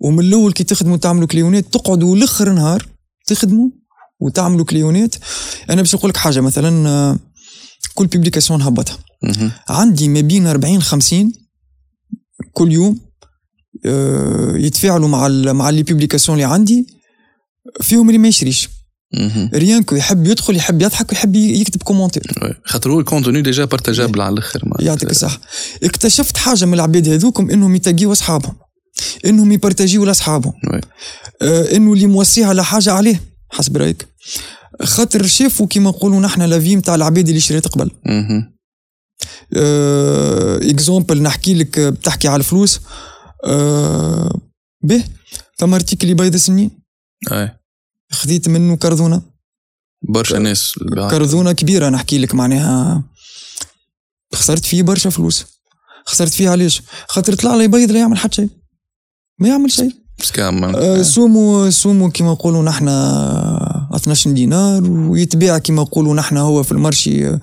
S1: ومن الاول كي تخدموا تعملوا كليونات تقعدوا لاخر نهار تخدموا وتعملوا كليونات انا باش نقول لك حاجه مثلا آه، كل بيبليكاسيون هبطها
S2: مهم.
S1: عندي ما بين 40 50 كل يوم آه، يتفاعلوا مع ال مع لي بيبليكاسيون اللي عندي فيهم اللي ما يشريش
S2: مهم.
S1: ريان كو يحب يدخل يحب يضحك ويحب ي- يكتب كومونتير
S2: وي. خاطر هو الكونتوني ديجا بارتاجابل على الاخر معناتها.
S1: يعطيك الصحة اكتشفت حاجة من العباد هذوكم انهم يتاقيوا اصحابهم انهم يبارتاجيوا لاصحابهم
S2: وي.
S1: آه، انه اللي موصيه على حاجة عليه حسب رايك خاطر شافوا كيما نقولوا نحن لافي نتاع العباد اللي شريت قبل
S2: مهم.
S1: آه، اكزومبل نحكي لك آه، بتحكي على الفلوس آه، به ثم ارتيكلي بيض سنين
S2: أي.
S1: خذيت منه كرذونه
S2: برشا ناس
S1: كرذونه كبيره نحكي لك معناها خسرت فيه برشا فلوس خسرت فيه علاش خاطر طلع لي بيض لا يعمل حتى شيء ما يعمل شيء
S2: سكام
S1: آه، سومو سومو كيما نقولوا نحن 12 دينار ويتباع كيما نقولوا نحن هو في المارشي آه،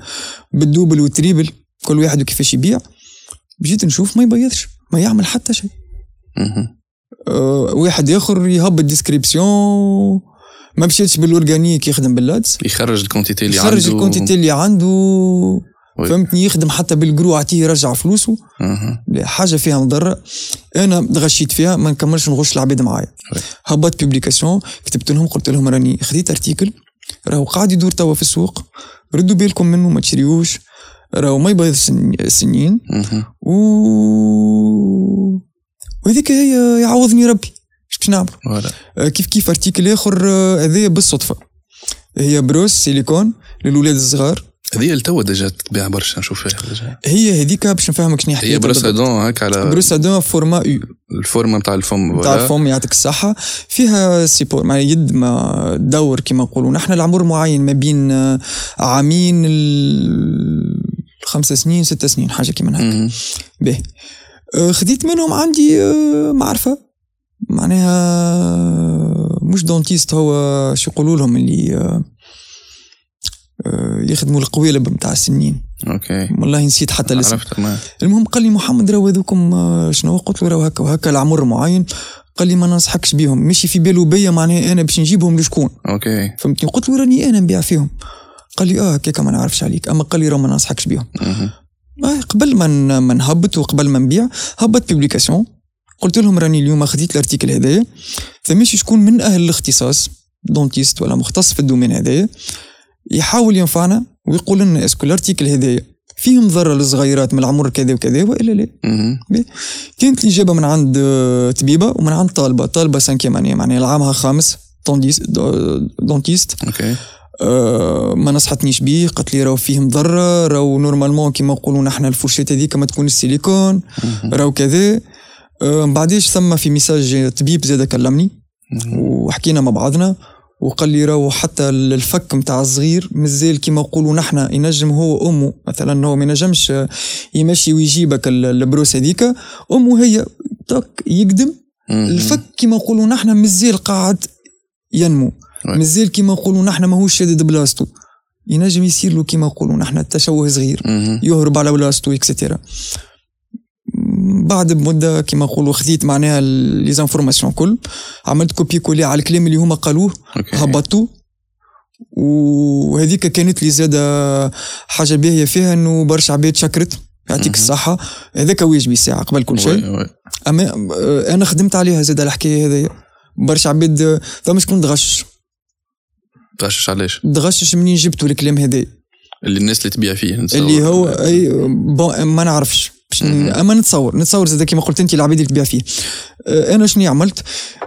S1: بالدوبل والتريبل كل واحد وكيفاش يبيع جيت نشوف ما يبيضش ما يعمل حتى شيء
S2: مهم.
S1: آه، واحد اخر يهبط ديسكريبسيون ما مشيتش بالاورجانيك يخدم باللادز
S2: يخرج الكونتيتي اللي عنده
S1: يخرج الكونتيتي اللي عنده
S2: وي.
S1: فهمتني يخدم حتى بالجرو عطيه يرجع فلوسه
S2: مهم.
S1: لا، حاجه فيها مضره انا غشيت فيها ما نكملش نغش العباد معايا
S2: وي.
S1: هبط بيبليكاسيون كتبت لهم قلت لهم راني خديت ارتيكل راهو قاعد يدور توا في السوق ردوا بالكم منه ما تشريوش راهو ما يبيض سن- سنين
S2: مهم.
S1: و وهذيك هي يعوضني ربي اش باش نعمل
S2: فوالا
S1: آه، كيف كيف ارتيكل اخر آه، هذايا بالصدفه هي بروس سيليكون للولاد الصغار
S2: هذه التوا ديجا تباع برشا نشوف فيها ديجا
S1: هي هذيك باش نفهمك شنو
S2: هي
S1: حكايتها
S2: برشا
S1: بالضبط.
S2: دون هكا على
S1: بروس ادون فورما يو
S2: الفورمه نتاع الفم
S1: نتاع
S2: فوالا
S1: الفم يعطيك الصحة فيها سيبور مع يد ما دور كما نقولوا نحن العمر معين ما بين آه، عامين ال- خمسة سنين ستة سنين حاجة كيما هكا
S2: مهم.
S1: به آه، خديت منهم عندي آه، معرفة معناها آه، مش دونتيست هو شو يقولوا لهم اللي آه، آه، يخدموا القوالب نتاع السنين
S2: اوكي
S1: والله نسيت حتى الاسم
S2: عرفت ما
S1: المهم قال لي محمد راهو هذوكم آه، شنو قلت له راهو هكا وهكا العمر معين قال لي ما ننصحكش بيهم مشي في بالو بيا معناها انا باش نجيبهم لشكون
S2: اوكي
S1: فهمتني قلت له راني انا نبيع فيهم قال لي اه هكاك ما نعرفش عليك اما قال لي راهو ما ننصحكش بيهم
S2: مهم.
S1: آه، قبل ما ن- ما نهبط وقبل ما نبيع هبط بيبليكاسيون قلت لهم راني اليوم خديت الارتيكل هذايا فماشي شكون من اهل الاختصاص دونتيست ولا مختص في الدومين هذايا يحاول ينفعنا ويقول لنا اسكو الارتيكل هذايا فيهم ضرر للصغيرات من العمر كذا وكذا والا لا
S2: مهم.
S1: كانت الإجابة من عند آه، طبيبة ومن عند طالبة طالبة سانكيم أنية معناها العامها خامس طونديس- دو- دونتيست
S2: اوكي
S1: آه، ما نصحتنيش بيه قالت لي راهو فيه مضرة راهو نورمالمون كيما نقولوا نحن الفرشاة هذيك ما تكون السيليكون
S2: مهم.
S1: راهو كذا آه، من بعديش ثم في ميساج طبيب زاد كلمني
S2: مهم.
S1: وحكينا مع بعضنا وقال لي راهو حتى الفك متاع الصغير مازال كيما نقولوا نحنا ينجم هو امه مثلا هو ما ينجمش يمشي ويجيبك ال- البروس هذيك امه هي تك يقدم
S2: مهم.
S1: الفك كيما نقولوا نحنا مازال قاعد ينمو
S2: وي.
S1: مازال كيما نقولوا نحنا ماهوش شادد بلاصتو ينجم يصير له كيما نقولوا نحنا تشوه صغير
S2: مهم.
S1: يهرب على بلاصتو اكسترا بعد بمده كيما نقولوا خذيت معناها لي زانفورماسيون كل عملت كوبي كولي على الكلام اللي هما قالوه
S2: اوكي
S1: هبطوه وهذيك كانت لي زاده حاجه باهيه فيها انه برشا عباد شكرت
S2: مهم.
S1: يعطيك الصحه هذاك واجبي ساعه قبل كل شيء
S2: وي- وي.
S1: اما آه، انا خدمت عليها زاد الحكايه هذيا برشا عباد آه، فما شكون تغشش
S2: تغشش علاش
S1: تغشش منين جبتوا الكلام هذا
S2: اللي الناس اللي تبيع فيه نتصور.
S1: اللي هو اي بون ما نعرفش باش
S2: مهم.
S1: ن- اما نتصور نتصور زاد كيما قلت انت العباد اللي تبيع فيه آه، انا شنو عملت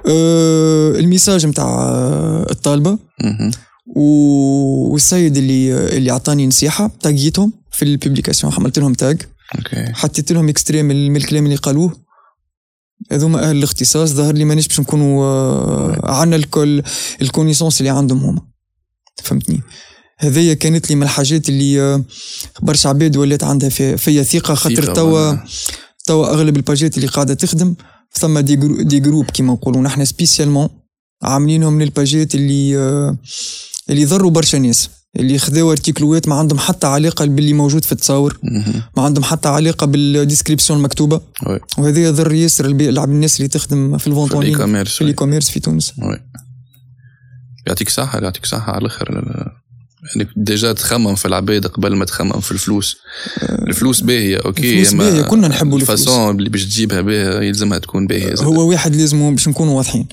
S1: آه، الميساج نتاع آه، الطالبه
S2: مهم.
S1: و- والسيد اللي اللي عطاني نصيحه تاجيتهم في البوبليكاسيون عملت لهم تاج
S2: اوكي
S1: حطيت لهم اكستريم من من الكلام اللي قالوه هذوما اهل الاختصاص ظهر لي مانيش باش نكونوا آه، عنا الكل الكونيسونس اللي عندهم هما فهمتني هذايا كانت لي من الحاجات اللي آه، برشا عباد ولات عندها في- فيا ثقه خاطر
S2: ثقة
S1: توا
S2: معناها.
S1: توا اغلب الباجات اللي قاعده تخدم ثم دي جرو دي جروب كيما نقولوا نحن سبيسيالمون عاملينهم من الباجات اللي آه، اللي ضروا برشا ناس اللي خذاو ارتيكلوات ما عندهم حتى علاقه باللي موجود في التصاور
S2: مهم.
S1: ما عندهم حتى علاقه بالديسكريبسيون المكتوبه
S2: وي.
S1: وهذا يضر ياسر البي- العب الناس اللي تخدم في الفونت
S2: في
S1: اونلاين في
S2: الإيكوميرس، وي.
S1: الايكوميرس في تونس
S2: وي. يعطيك صحة يعطيك صحة على الآخر يعني ديجا تخمم في العباد قبل ما تخمم في الفلوس الفلوس باهية أوكي
S1: آه. الفلوس
S2: أما
S1: باهية، كنا نحبوا الفلوس.
S2: الفاسون اللي باش تجيبها باهية يلزمها تكون باهية زادة.
S1: هو واحد لازم باش نكونوا واضحين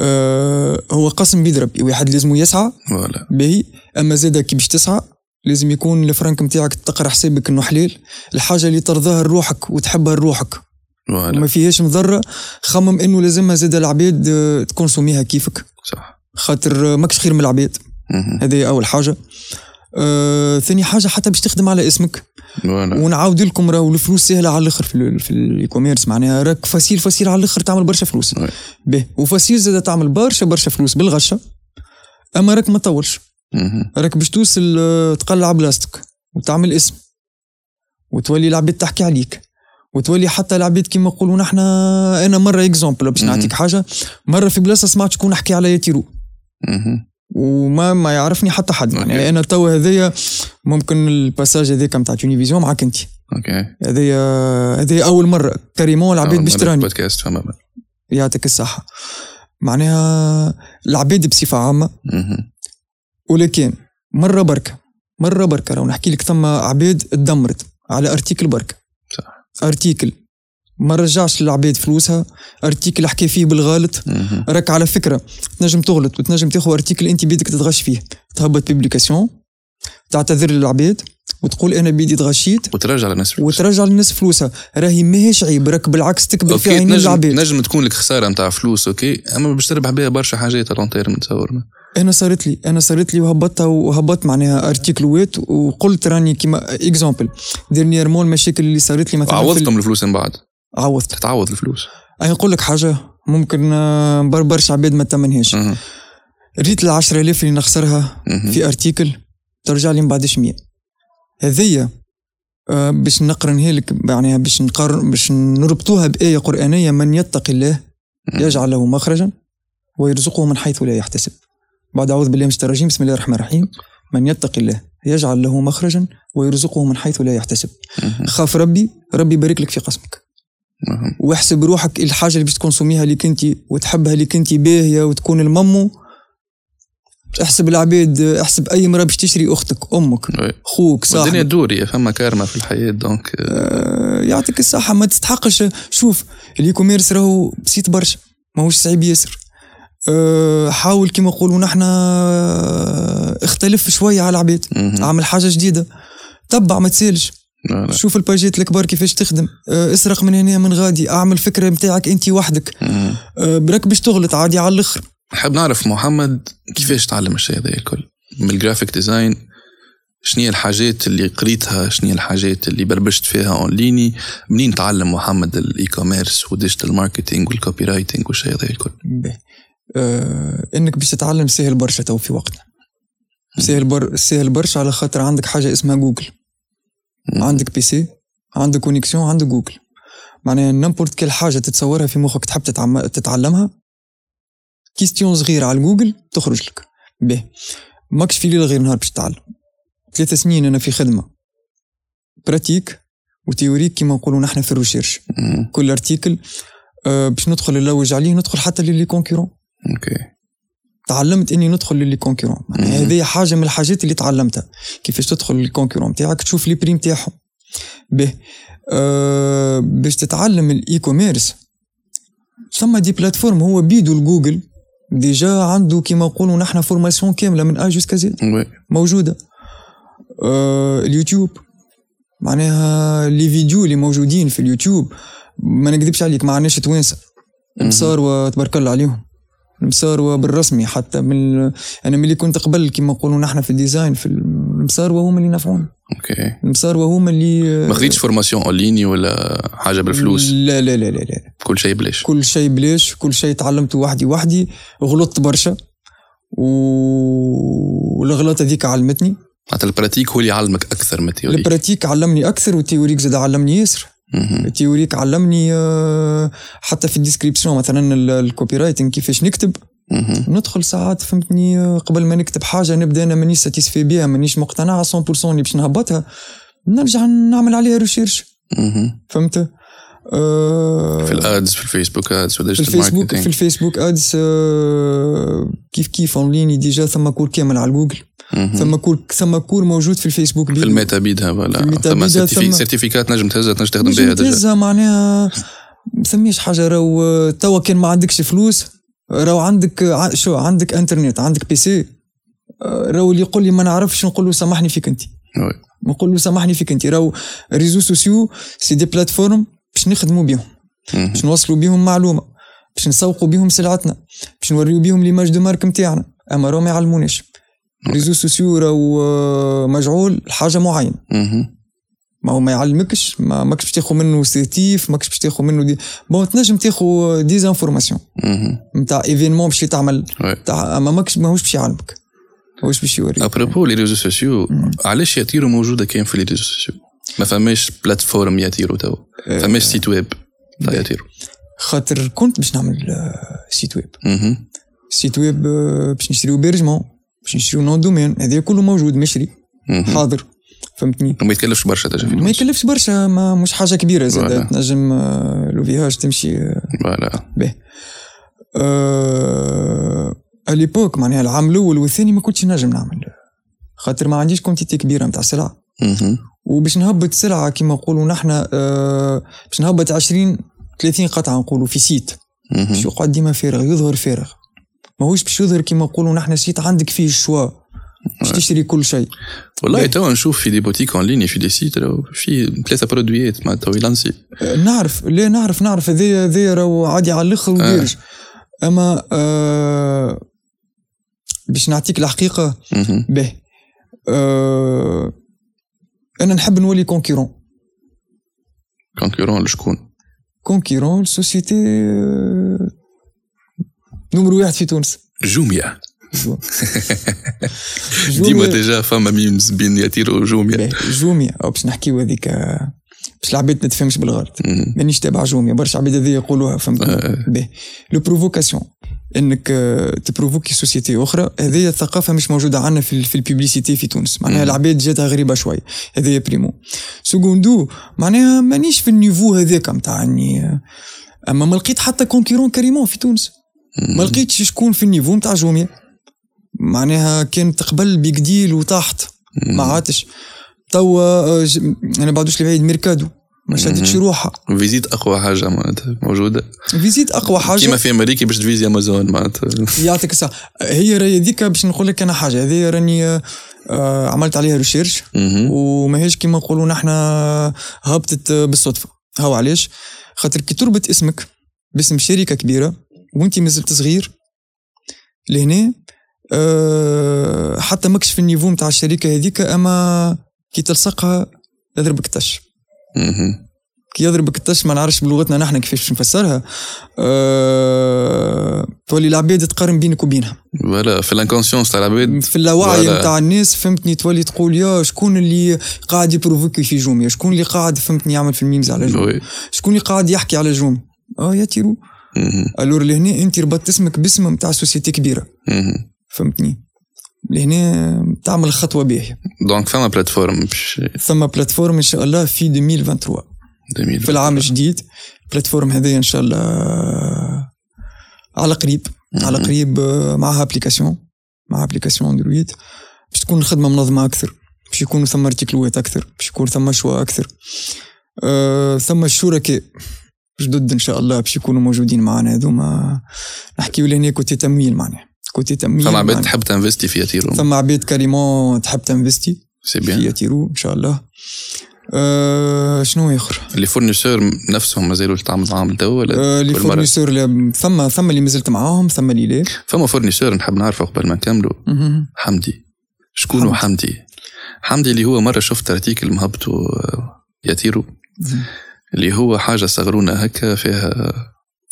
S1: آه هو قسم بيد ربي واحد لازم يسعى
S2: فوالا
S1: باهي اما زاد كي باش تسعى لازم يكون الفرنك نتاعك تقرا حسابك انه حلال الحاجه اللي ترضاها لروحك وتحبها لروحك
S2: فوالا
S1: وما فيهاش مضره خمم انه لازمها زاد العباد آه، تكونسوميها كيفك
S2: صح
S1: خاطر آه، ماكش خير من العباد
S2: مهم.
S1: هذه اول حاجه آه، ثاني حاجه حتى باش تخدم على اسمك
S2: فوالا
S1: ونعاود لكم راهو الفلوس سهله على الاخر في ال- في الايكوميرس معناها راك فصيل فصيل على الاخر تعمل برشا فلوس
S2: وي.
S1: به وفصيل زاد تعمل برشا برشا فلوس بالغشه اما راك ما تطولش
S2: مهم.
S1: راك باش توصل آه، تقلع بلاستك وتعمل اسم وتولي العباد تحكي عليك وتولي حتى العباد كيما نقولوا نحن انا مره اكزومبل باش
S2: مهم.
S1: نعطيك حاجه مره في بلاصه سمعت شكون حكي عليا تيرو
S2: مهم.
S1: وما ما يعرفني حتى حد
S2: أوكي.
S1: يعني انا توا هذايا ممكن الباساج هذاك نتاع تونيفيزيون معاك انت
S2: أوكي
S1: هذايا هذايا اول مره كريمون العباد
S2: أول مرة
S1: باش تراني
S2: بودكاست فما
S1: يعطيك الصحه معناها العباد بصفه عامه
S2: مهم.
S1: ولكن مره بركه مره بركه راهو نحكي لك ثم عباد تدمرت على ارتيكل بركه
S2: صح.
S1: ارتيكل ما رجعش للعباد فلوسها ارتيكل حكى فيه بالغلط
S2: مهم.
S1: راك على فكره تنجم تغلط وتنجم تاخذ ارتيكل انت بيدك تتغش فيه تهبط بيبليكاسيون تعتذر للعباد وتقول انا بيدي تغشيت
S2: وترجع للناس فلوس.
S1: وترجع للناس فلوسها راهي ماهيش عيب راك بالعكس تكبر في
S2: اوكي
S1: عينين
S2: نجم,
S1: العباد
S2: نجم تكون لك خساره نتاع فلوس اوكي اما باش تربح بها برشا حاجات على تيرم نتصور
S1: انا صارت لي انا صارت لي وهبطتها وهبطت معناها ارتيكلوات وقلت راني كيما اكزامبل ديرنييرمون المشاكل اللي صارت لي مثلا في ال-
S2: عوضتهم الفلوس من بعد
S1: عوضت
S2: تتعوض الفلوس
S1: انا نقول لك حاجه ممكن آه، بر برشا عباد ما تمنهاش
S2: مهم.
S1: ريت ال 10000 اللي نخسرها
S2: مهم.
S1: في ارتيكل ترجع لي من بعدش 100 هذيا آه، باش نقرنها لك يعني باش نقارن باش نربطوها بآية قرآنية من يتقي الله
S2: مهم.
S1: يجعل له مخرجا ويرزقه من حيث لا يحتسب بعد أعوذ بالله من الشيطان الرجيم بسم الله الرحمن الرحيم من يتقي الله يجعل له مخرجا ويرزقه من حيث لا يحتسب
S2: مهم.
S1: خاف ربي ربي يبارك لك في قسمك
S2: مهم.
S1: واحسب روحك الحاجه اللي باش تكونسوميها اللي كنتي وتحبها اللي كنتي باهيه وتكون المامو احسب العباد احسب اي مراه باش تشري اختك امك
S2: وي.
S1: خوك صاحبك
S2: الدنيا دورية فما كارما في الحياة دونك آه،
S1: آه، يعطيك الصحه ما تستحقش شوف الاي كوميرس راهو بسيط برشا ماهوش صعيب ياسر أه حاول كما نقولوا نحنا آه، اختلف شويه على العباد
S2: مهم.
S1: اعمل حاجه جديده تبع ما تسالش
S2: لا، لا.
S1: شوف الباجيت الكبار كيفاش تخدم أه اسرق من هنا من غادي اعمل فكره متاعك انت وحدك
S2: مهم.
S1: أه برك باش تغلط عادي على الاخر
S2: نحب نعرف محمد كيفاش تعلم الشيء هذا الكل من الجرافيك ديزاين شنو هي الحاجات اللي قريتها شنو هي الحاجات اللي بربشت فيها اونليني منين تعلم محمد الاي كوميرس والديجيتال ماركتينج والكوبي رايتينج والشيء هذا الكل
S1: باهي. أه انك باش تتعلم سهل برشا تو في وقتنا سهل بر سهل برشا على خاطر عندك حاجه اسمها جوجل
S2: مم.
S1: عندك بي سي عندك كونيكسيون عندك جوجل معناها نمبورت كل حاجه تتصورها في مخك تحب تتعم... تتعلمها كيستيون صغيره على جوجل تخرج لك باهي ماكش في ليله غير نهار باش تتعلم ثلاث سنين انا في خدمه براتيك وتيوريك كيما نقولوا نحن في الريسيرش
S2: مم.
S1: كل ارتيكل آه، باش ندخل نلوج عليه ندخل حتى للي كونكورون
S2: اوكي
S1: تعلمت اني ندخل للي كونكورون
S2: مم.
S1: هذه حاجه من الحاجات اللي تعلمتها كيفاش تدخل للكونكورون تاعك تشوف لي بريم تاعهم به آه باش تتعلم الاي كوميرس ثم دي بلاتفورم هو بيدو الجوجل ديجا عنده كيما نقولوا نحن فورماسيون كامله من ا جوسكا زد
S2: وي.
S1: موجوده آه اليوتيوب معناها لي فيديو اللي موجودين في اليوتيوب ما نكذبش عليك ما عندناش توانسه المساروه تبارك الله عليهم المساروه بالرسمي حتى من ال- انا ملي كنت قبل كما نقولوا نحن في الديزاين في المساروه هما اللي نفعونا
S2: اوكي
S1: المساروه هما اللي
S2: ما خديتش فورماسيون اونليني ولا حاجه بالفلوس
S1: لا لا لا لا, لا.
S2: كل شيء بلاش
S1: كل شيء بلاش كل شيء تعلمته وحدي وحدي غلطت برشا و- والغلطه هذيك علمتني
S2: حتى البراتيك هو اللي يعلمك اكثر من التيوري
S1: البراتيك علمني اكثر والتيوريك زاد علمني ياسر
S2: مهم.
S1: التيوريك علمني آه، حتى في الديسكريبسيون مثلا ال- الكوبي رايتنج كيفاش نكتب
S2: مهم.
S1: ندخل ساعات فهمتني آه، قبل ما نكتب حاجه نبدا انا مانيش ساتيسفي بيها مانيش مقتنع على 100% اللي باش نهبطها نرجع نعمل عليها ريسيرش
S2: مهم.
S1: فهمت آه،
S2: في الادز في الفيسبوك ادز
S1: في
S2: والديجيتال
S1: الفيسبوك في
S2: ماركتينج
S1: الفيسبوك ادز آه، كيف كيف اونلاين ديجا ثم كور كامل على جوجل
S2: مهم.
S1: ثم كور ثم كور موجود في الفيسبوك
S2: في الميتا بيدها
S1: في
S2: ولا
S1: الميتا
S2: ثم
S1: بيدها ثم-
S2: سيرتيفيكات نجم تهزها تنجم تخدم
S1: مش
S2: بها ديجا
S1: متهزة معناها مسميش حاجة راهو توا كان ما عندكش فلوس راهو عندك ع- شو عندك انترنت عندك بي سي آه، راهو اللي يقول لي ما نعرفش نقول له سامحني فيك انت
S2: وي.
S1: نقول له سامحني فيك انت راهو ريزو سوسيو سي دي بلاتفورم باش نخدموا بيهم
S2: مهم.
S1: باش نوصلوا بيهم معلومه باش نسوقوا بيهم سلعتنا باش نوريو بيهم ليماج دو مارك نتاعنا اما راهو ما يعلموناش ريزو سوسيو راهو آه، مجعول لحاجه معينه
S2: مهم.
S1: ما هو ما يعلمكش ما ماكش باش تاخذ منه سيتيف ماكش باش تاخذ منه دي بون تنجم تاخذ ديزانفورماسيون
S2: مهم.
S1: نتاع ايفينمون باش تعمل
S2: وي.
S1: تاع اما ماكش ماهوش باش يعلمك ماهوش باش يوريك
S2: ابروبو لي ريزو سوسيو علاش ياتيرو موجوده كان في لي ريزو سوسيو ما فماش بلاتفورم ياتيرو تو
S1: آه.
S2: فماش سيت ويب تاع ياتيرو
S1: خاطر كنت باش نعمل آه، سيت ويب
S2: مهم.
S1: سيت ويب آه، باش نشريو بيرجمون باش نشريو نون دومين هذا كله موجود مشري
S2: مهم.
S1: حاضر فهمتني
S2: وما يتكلفش برشا تاجا
S1: ما
S2: في الفلوس.
S1: يكلفش برشا ما مش حاجه كبيره
S2: فوالا.
S1: زاد تنجم آه، لو فيهاج تمشي آه،
S2: فوالا
S1: به آه... اليبوك معناها العام الاول والثاني ما كنتش نجم نعمل خاطر ما عنديش كونتيتي كبيره نتاع سلعه
S2: مهم.
S1: وباش نهبط سلعه كيما نقولوا نحن آه... باش نهبط 20 30 قطعه نقولوا في سيت باش
S2: مهم.
S1: يقعد ديما فارغ يظهر فارغ ماهوش باش يظهر كيما نقولوا نحن سيت عندك فيه الشوا باش تشتري كل شيء
S2: والله
S1: باهي.
S2: توا نشوف في دي بوتيك اون ليني في دي سيت راهو في ثلاثه برودويات مع تو يلانسي
S1: آه، نعرف لا نعرف نعرف هذايا هذايا راهو عادي على الاخر ودارج اما آه باش نعطيك الحقيقه
S2: مهم.
S1: به آه انا نحب نولي كونكيرون
S2: كونكورون لشكون
S1: كونكيرون السوسيتي آه، نمرو واحد في تونس
S2: جوميا ديما
S1: جوميا
S2: ديجا فما ميمز بين يطيروا جوميا
S1: به، جوميا أو باش نحكيو هذيك آه، باش العباد ما تفهمش بالغلط
S2: مهم.
S1: مانيش تابع جوميا برشا عباد هذيا يقولوها فهمت
S2: آه.
S1: به لو بروفوكاسيون انك آه، تبروفوكي سوسيتي اخرى هذه الثقافه مش موجوده عندنا في ال- في الببليسيتي في تونس معناها
S2: مم.
S1: العباد جاتها غريبه شويه هذه بريمو سكوندو معناها مانيش في النيفو هذاك نتاع إني، آه، اما ما لقيت حتى كونكيرون كريمون في تونس ما
S2: مهم.
S1: لقيتش شكون في النيفو نتاع جوميا معناها كانت قبل بيك ديل وتحت ما عادش توا آه، ج- انا بعدوش لبعيد ميركادو ما شدتش
S2: مهم.
S1: روحها
S2: فيزيت اقوى حاجه معناتها موجوده
S1: فيزيت اقوى حاجه
S2: كيما في امريكا باش تفيزي امازون معناتها
S1: يعطيك الصحة هي راهي هذيك باش نقول لك انا حاجه هذه راني آه، عملت عليها ريسيرش
S2: مهم.
S1: وماهيش كيما نقولوا نحن هبطت بالصدفه هاو علاش خاطر كي تربط اسمك باسم شركه كبيره وانت مازلت صغير لهنا آه، حتى ماكش في النيفو نتاع الشركه هذيك اما كي تلصقها يضربك الطش
S2: مهم.
S1: كي يضربك الطش ما نعرفش بلغتنا نحن كيفاش باش نفسرها أه... تولي العباد تقارن بينك وبينها
S2: فوالا في الانكونسيونس تاع العباد
S1: في اللاوعي
S2: فوالا.
S1: نتاع الناس فهمتني تولي تقول يا شكون اللي قاعد يبروفوكي في جوميا شكون اللي قاعد فهمتني يعمل في الميمز على جوميا
S2: وي.
S1: شكون اللي قاعد يحكي على جوميا اه يا تيرو
S2: مهم.
S1: الور لهنا انت ربطت اسمك باسم نتاع سوسيتي كبيره
S2: مهم.
S1: فهمتني لهنا تعمل خطوه باهيه
S2: دونك فما بلاتفورم باش
S1: ثم بلاتفورم ان شاء الله في 2023 في
S2: 2000
S1: العام الجديد بلاتفورم هذايا ان شاء الله على قريب على
S2: مم.
S1: قريب آه، معها ابليكاسيون مع ابليكاسيون اندرويد باش تكون الخدمه منظمه اكثر باش يكون ثم ارتيكلوات اكثر باش يكون ثم شواء اكثر آه ثم الشركاء جدد ان شاء الله باش يكونوا موجودين معنا هذوما نحكيو لهنا كوتي تمويل معناها كوتي تمويل
S2: فما عباد
S1: معناها.
S2: تحب تنفستي فيها تيرو
S1: ثم عباد كريمون تحب تنفستي
S2: سي
S1: في
S2: بيان
S1: يتيرو ان شاء الله آه شنو اخر
S2: لي فورنيسور نفسهم مازالوا تعمل عام توا ولا
S1: آه، لي
S2: كل مرة.
S1: فورنيسور اللي- ثم ثم اللي مازلت معاهم ثم اللي لا
S2: فما فورنيسور نحب نعرفه قبل ما نكملوا
S1: مهم.
S2: حمدي شكون هو حمدي حمدي اللي هو مره شفت ارتيكل مهبطه آه، يطيروا اللي هو حاجه صغرونه هكا فيها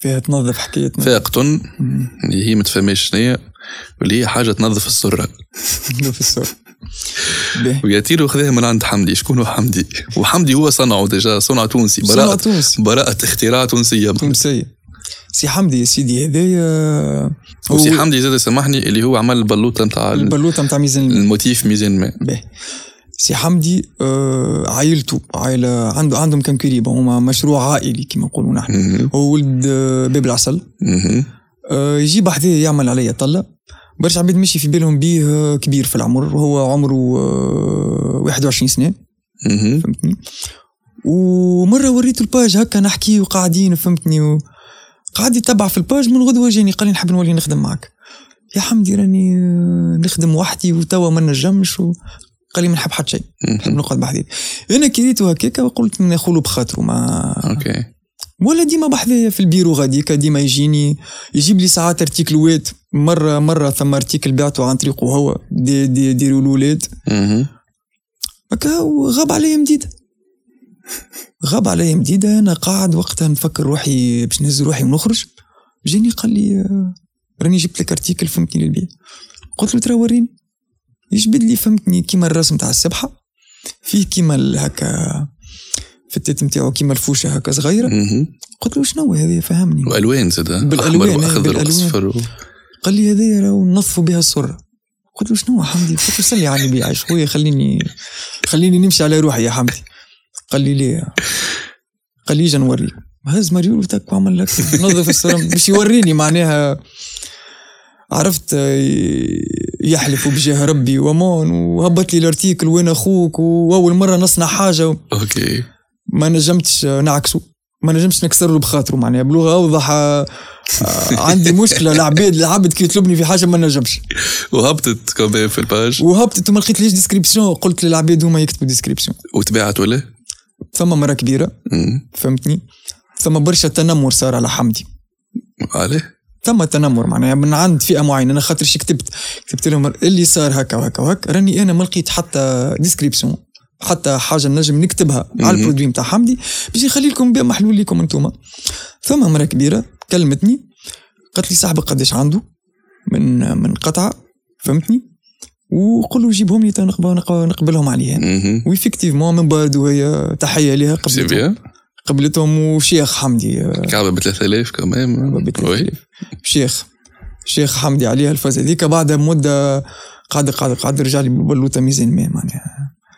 S1: فيها تنظف حكايتنا
S2: فيها قطن
S1: مهم.
S2: اللي هي ما تفهمش شنيا واللي هي حاجه تنظف السره
S1: لو في السور باهي.
S2: ويطيروا خذاها من عند حمدي شكون هو حمدي وحمدي هو صنعه ديجا صنع تونسي
S1: صنع
S2: براءه
S1: تونس
S2: براءه اختراع تونسيه
S1: تونسية سي حمدي يا سيدي هذايا
S2: وسي
S1: هو
S2: حمدي زاد سامحني اللي هو عمل البلوطه نتاع
S1: البلوطه نتاع ميزان الماء.
S2: الموتيف ميزان ما
S1: باهي. سي حمدي آه، عائلته عائله عنده عندهم كم كريبه هما مشروع عائلي كما نقولوا نحن
S2: مهم.
S1: هو ولد آه، باب العسل
S2: مهم.
S1: آه، يجيب حذايا يعمل عليا طلة برشا عباد ماشي في بالهم بيه آه، كبير في العمر وهو عمره آه، 21 سنة
S2: مهم.
S1: فهمتني ومرة وريته الباج هكا نحكي وقاعدين فهمتني و... قعد يتبع في الباج من غدوة جاني قال لي نحب نولي نخدم معك يا حمدي راني آه، نخدم وحدي وتوا ما نجمش و... قال لي ما نحب حد شيء نحب
S2: مهم.
S1: نقعد بحذايا انا كريته هكاك وقلت ناخذ بخاطره ما
S2: اوكي
S1: ولا ديما بحذايا في البيرو غاديكا ديما يجيني يجيب لي ساعات ارتيكلوات مره مره ثم ارتيكل بعته عن طريقه هو دي دي ديروا الاولاد
S2: مهم.
S1: هكا وغاب عليا مديده غاب عليا مديده انا قاعد وقتها نفكر روحي باش نهز روحي ونخرج جاني قال لي آه، راني جبت لك ارتيكل فهمتني للبيع قلت له ترى وريني يجبد لي فهمتني كيما الرسم تاع السبحه فيه كيما ال- هكا في التيت نتاعو كيما الفوشه هكا صغيره
S2: مهم.
S1: قلت له شنو هذه فهمني
S2: والوان زاد ها؟
S1: بالألوان، إيه،
S2: احمر
S1: بالألوان.
S2: واخضر واصفر و-
S1: قال لي هذايا راهو ننظفوا بها السره قلت له شنو يا حمدي قلت له سلي على البيع خويا خليني خليني نمشي على روحي يا حمدي قال لي ليه قال لي جا نوريك هز مريول وتك وعمل لك نظف السره باش يوريني معناها عرفت آه، يحلف بجاه ربي ومون وهبط لي الارتيكل وين اخوك واول مره نصنع حاجه
S2: اوكي
S1: ما نجمتش آه، نعكسه ما نجمش نكسر له بخاطره معناها بلغه اوضح آه، عندي مشكله العباد العبد كي يطلبني في حاجه ما نجمش
S2: وهبطت كمان في الباج
S1: وهبطت وما لقيت ليش ديسكريبسيون قلت للعباد هما يكتبوا ديسكريبسيون
S2: وتباعت ولا؟
S1: ثم مره كبيره
S2: مم.
S1: فهمتني ثم برشا تنمر صار على حمدي
S2: عليه؟
S1: ثم تنمر معناها من عند فئه معينه انا خاطر شي كتبت كتبت لهم اللي صار هكا وهكا وهكا راني انا ما لقيت حتى ديسكريبسيون حتى حاجه نجم نكتبها على
S2: مهم.
S1: البرودوي نتاع حمدي باش يخلي لكم بها محلول ليكم انتوما ثم مرة كبيره كلمتني قالت لي صاحبك قداش عنده من من قطعه فهمتني وقل له جيبهم لي تا نقب- نقب- نقبلهم عليها
S2: مهم.
S1: ويفكتيفمون من باردو هي تحيه لها
S2: سي
S1: قبلتهم
S2: بيان
S1: قبلتهم وشيخ حمدي آه،
S2: كعبه ب 3000 كمان
S1: ما بيت
S2: وي.
S1: الخليفة. شيخ شيخ حمدي عليها الفاز هذيك بعد مده قعد قعد قعد رجع لي بالبلوطه ميزان ما معناها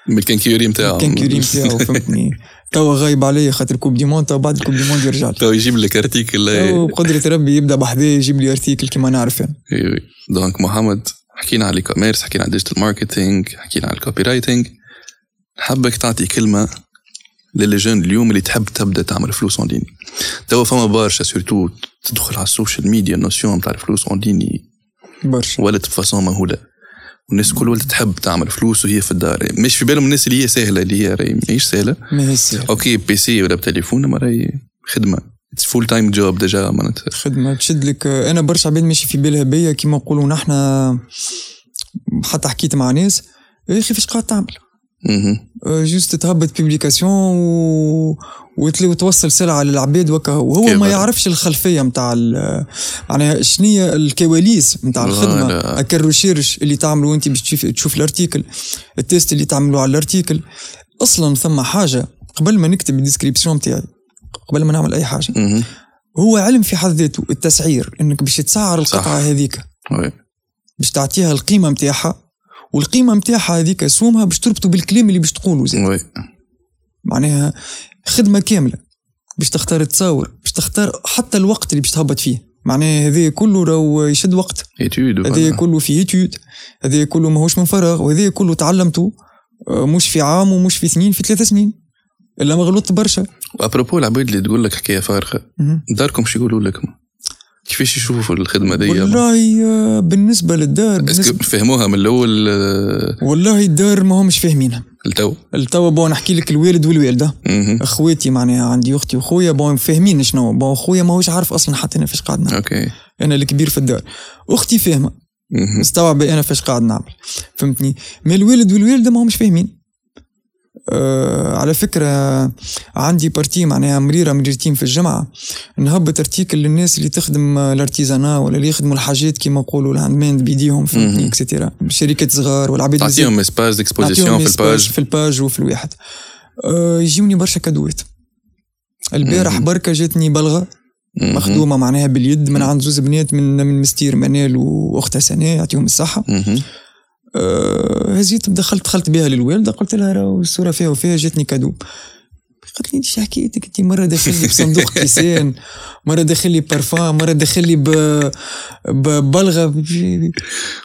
S2: من الكنكيوري نتاعهم
S1: كان كريم تاعو فهمتني توا غايب عليا خاطر كوب دي مون توا بعد الكوب دي مون يرجع لي
S2: تو يجيب طيب، لك ارتيكل
S1: توا بقدرة ربي يبدا بحذايا يجيب لي ارتيكل كيما نعرف يعني.
S2: إي وي. دونك محمد حكينا على الكوميرس حكينا على الديجيتال ماركتينج حكينا على الكوبي رايتنج حبك تعطي كلمه للي جون اليوم اللي تحب تبدا تعمل فلوس اون ليني توا فما برشا سورتو تدخل على السوشيال ميديا النوسيون تاع الفلوس اون ليني
S1: برشا
S2: ولات بفاسون مهوله والناس الكل ولات تحب تعمل فلوس وهي في الدار مش في بالهم الناس اللي هي سهله اللي هي راهي ماهيش سهله
S1: ما هي السير
S2: اوكي بي سي ولا بتليفون ما راهي خدمه اتس فول تايم جوب ديجا معناتها
S1: خدمه تشد لك آه، انا برشا عباد ماشي في بالها بيا كيما نقولوا نحن حتى حكيت مع ناس يا اخي فاش قاعد تعمل
S2: مهم.
S1: جوست Euh, تهبط بيبليكاسيون و... وتل- وتوصل سلعه للعباد وكا هو وهو
S2: كيف
S1: ما
S2: هذا؟
S1: يعرفش الخلفيه نتاع ال- معناها شنية الكواليس نتاع الخدمه
S2: فوالا.
S1: هكا الريشيرش اللي تعملوا انت باش تشوف, تشوف الارتيكل التيست اللي تعملوا على الارتيكل اصلا ثم حاجه قبل ما نكتب الديسكريبسيون نتاعي قبل ما نعمل اي حاجه
S2: مهم.
S1: هو علم في حد ذاته التسعير انك باش تسعر
S2: صح.
S1: القطعه هذيك
S2: وي.
S1: باش تعطيها القيمه نتاعها والقيمه نتاعها هذيك سومها باش تربطوا بالكلام اللي باش تقولوا زاد
S2: وي.
S1: معناها خدمه كامله باش تختار تصاور باش تختار حتى الوقت اللي باش تهبط فيه معناها هذا كله راهو يشد وقت
S2: Étude,
S1: هذا
S2: voilà.
S1: كله في يوتيوب هذا كله ماهوش من فراغ وهذا كله تعلمته آه، مش في عام ومش في سنين في ثلاث سنين الا ما غلطت برشا
S2: ابروبو العباد اللي تقول لك حكايه فارغه
S1: مهم.
S2: داركم شو يقولوا لك كيفاش يشوفوا الخدمه دي
S1: والله آه، بالنسبه للدار بالنسبة
S2: اسكو فهموها من الاول آه،
S1: والله الدار ما همش فاهمينها
S2: لتو
S1: التوا بون نحكي لك الوالد والوالده
S2: مهم.
S1: اخواتي معناها عندي اختي وخويا بون فاهمين شنو بون خويا ماهوش عارف اصلا حتى انا فاش قاعد نعمل
S2: اوكي
S1: انا الكبير في الدار اختي فاهمه
S2: مهم.
S1: مستوعب انا فاش قاعد نعمل فهمتني ما الوالد والوالده ما همش فاهمين أه على فكره عندي بارتي معناها مريره مريرتين في الجمعه نهبط ارتيكل للناس اللي تخدم آه، الارتيزانا ولا اللي يخدموا الحاجات كيما نقولوا الهاند ميند بيديهم فهمتني
S2: مهم.
S1: اكسترا شركات صغار والعباد اللي زي-
S2: تعطيهم اسباس ديكسبوزيسيون
S1: نعطيهم
S2: في الباج
S1: إسباج في الباج وفي الواحد أه يجيوني برشا كادوات البارح
S2: مهم.
S1: بركه جاتني بلغه
S2: مهم.
S1: مخدومه معناها باليد من عند زوز بنات من من مستير منال واختها سناء يعطيهم الصحه
S2: مهم.
S1: آه، هزيت دخلت دخلت بها للوالده قلت لها راهو الصوره فيها وفيها جاتني كادو قالت لي ايش حكايتك انت مره داخل لي بصندوق كيسان مره داخل لي بارفان مره داخل لي ب- ببلغه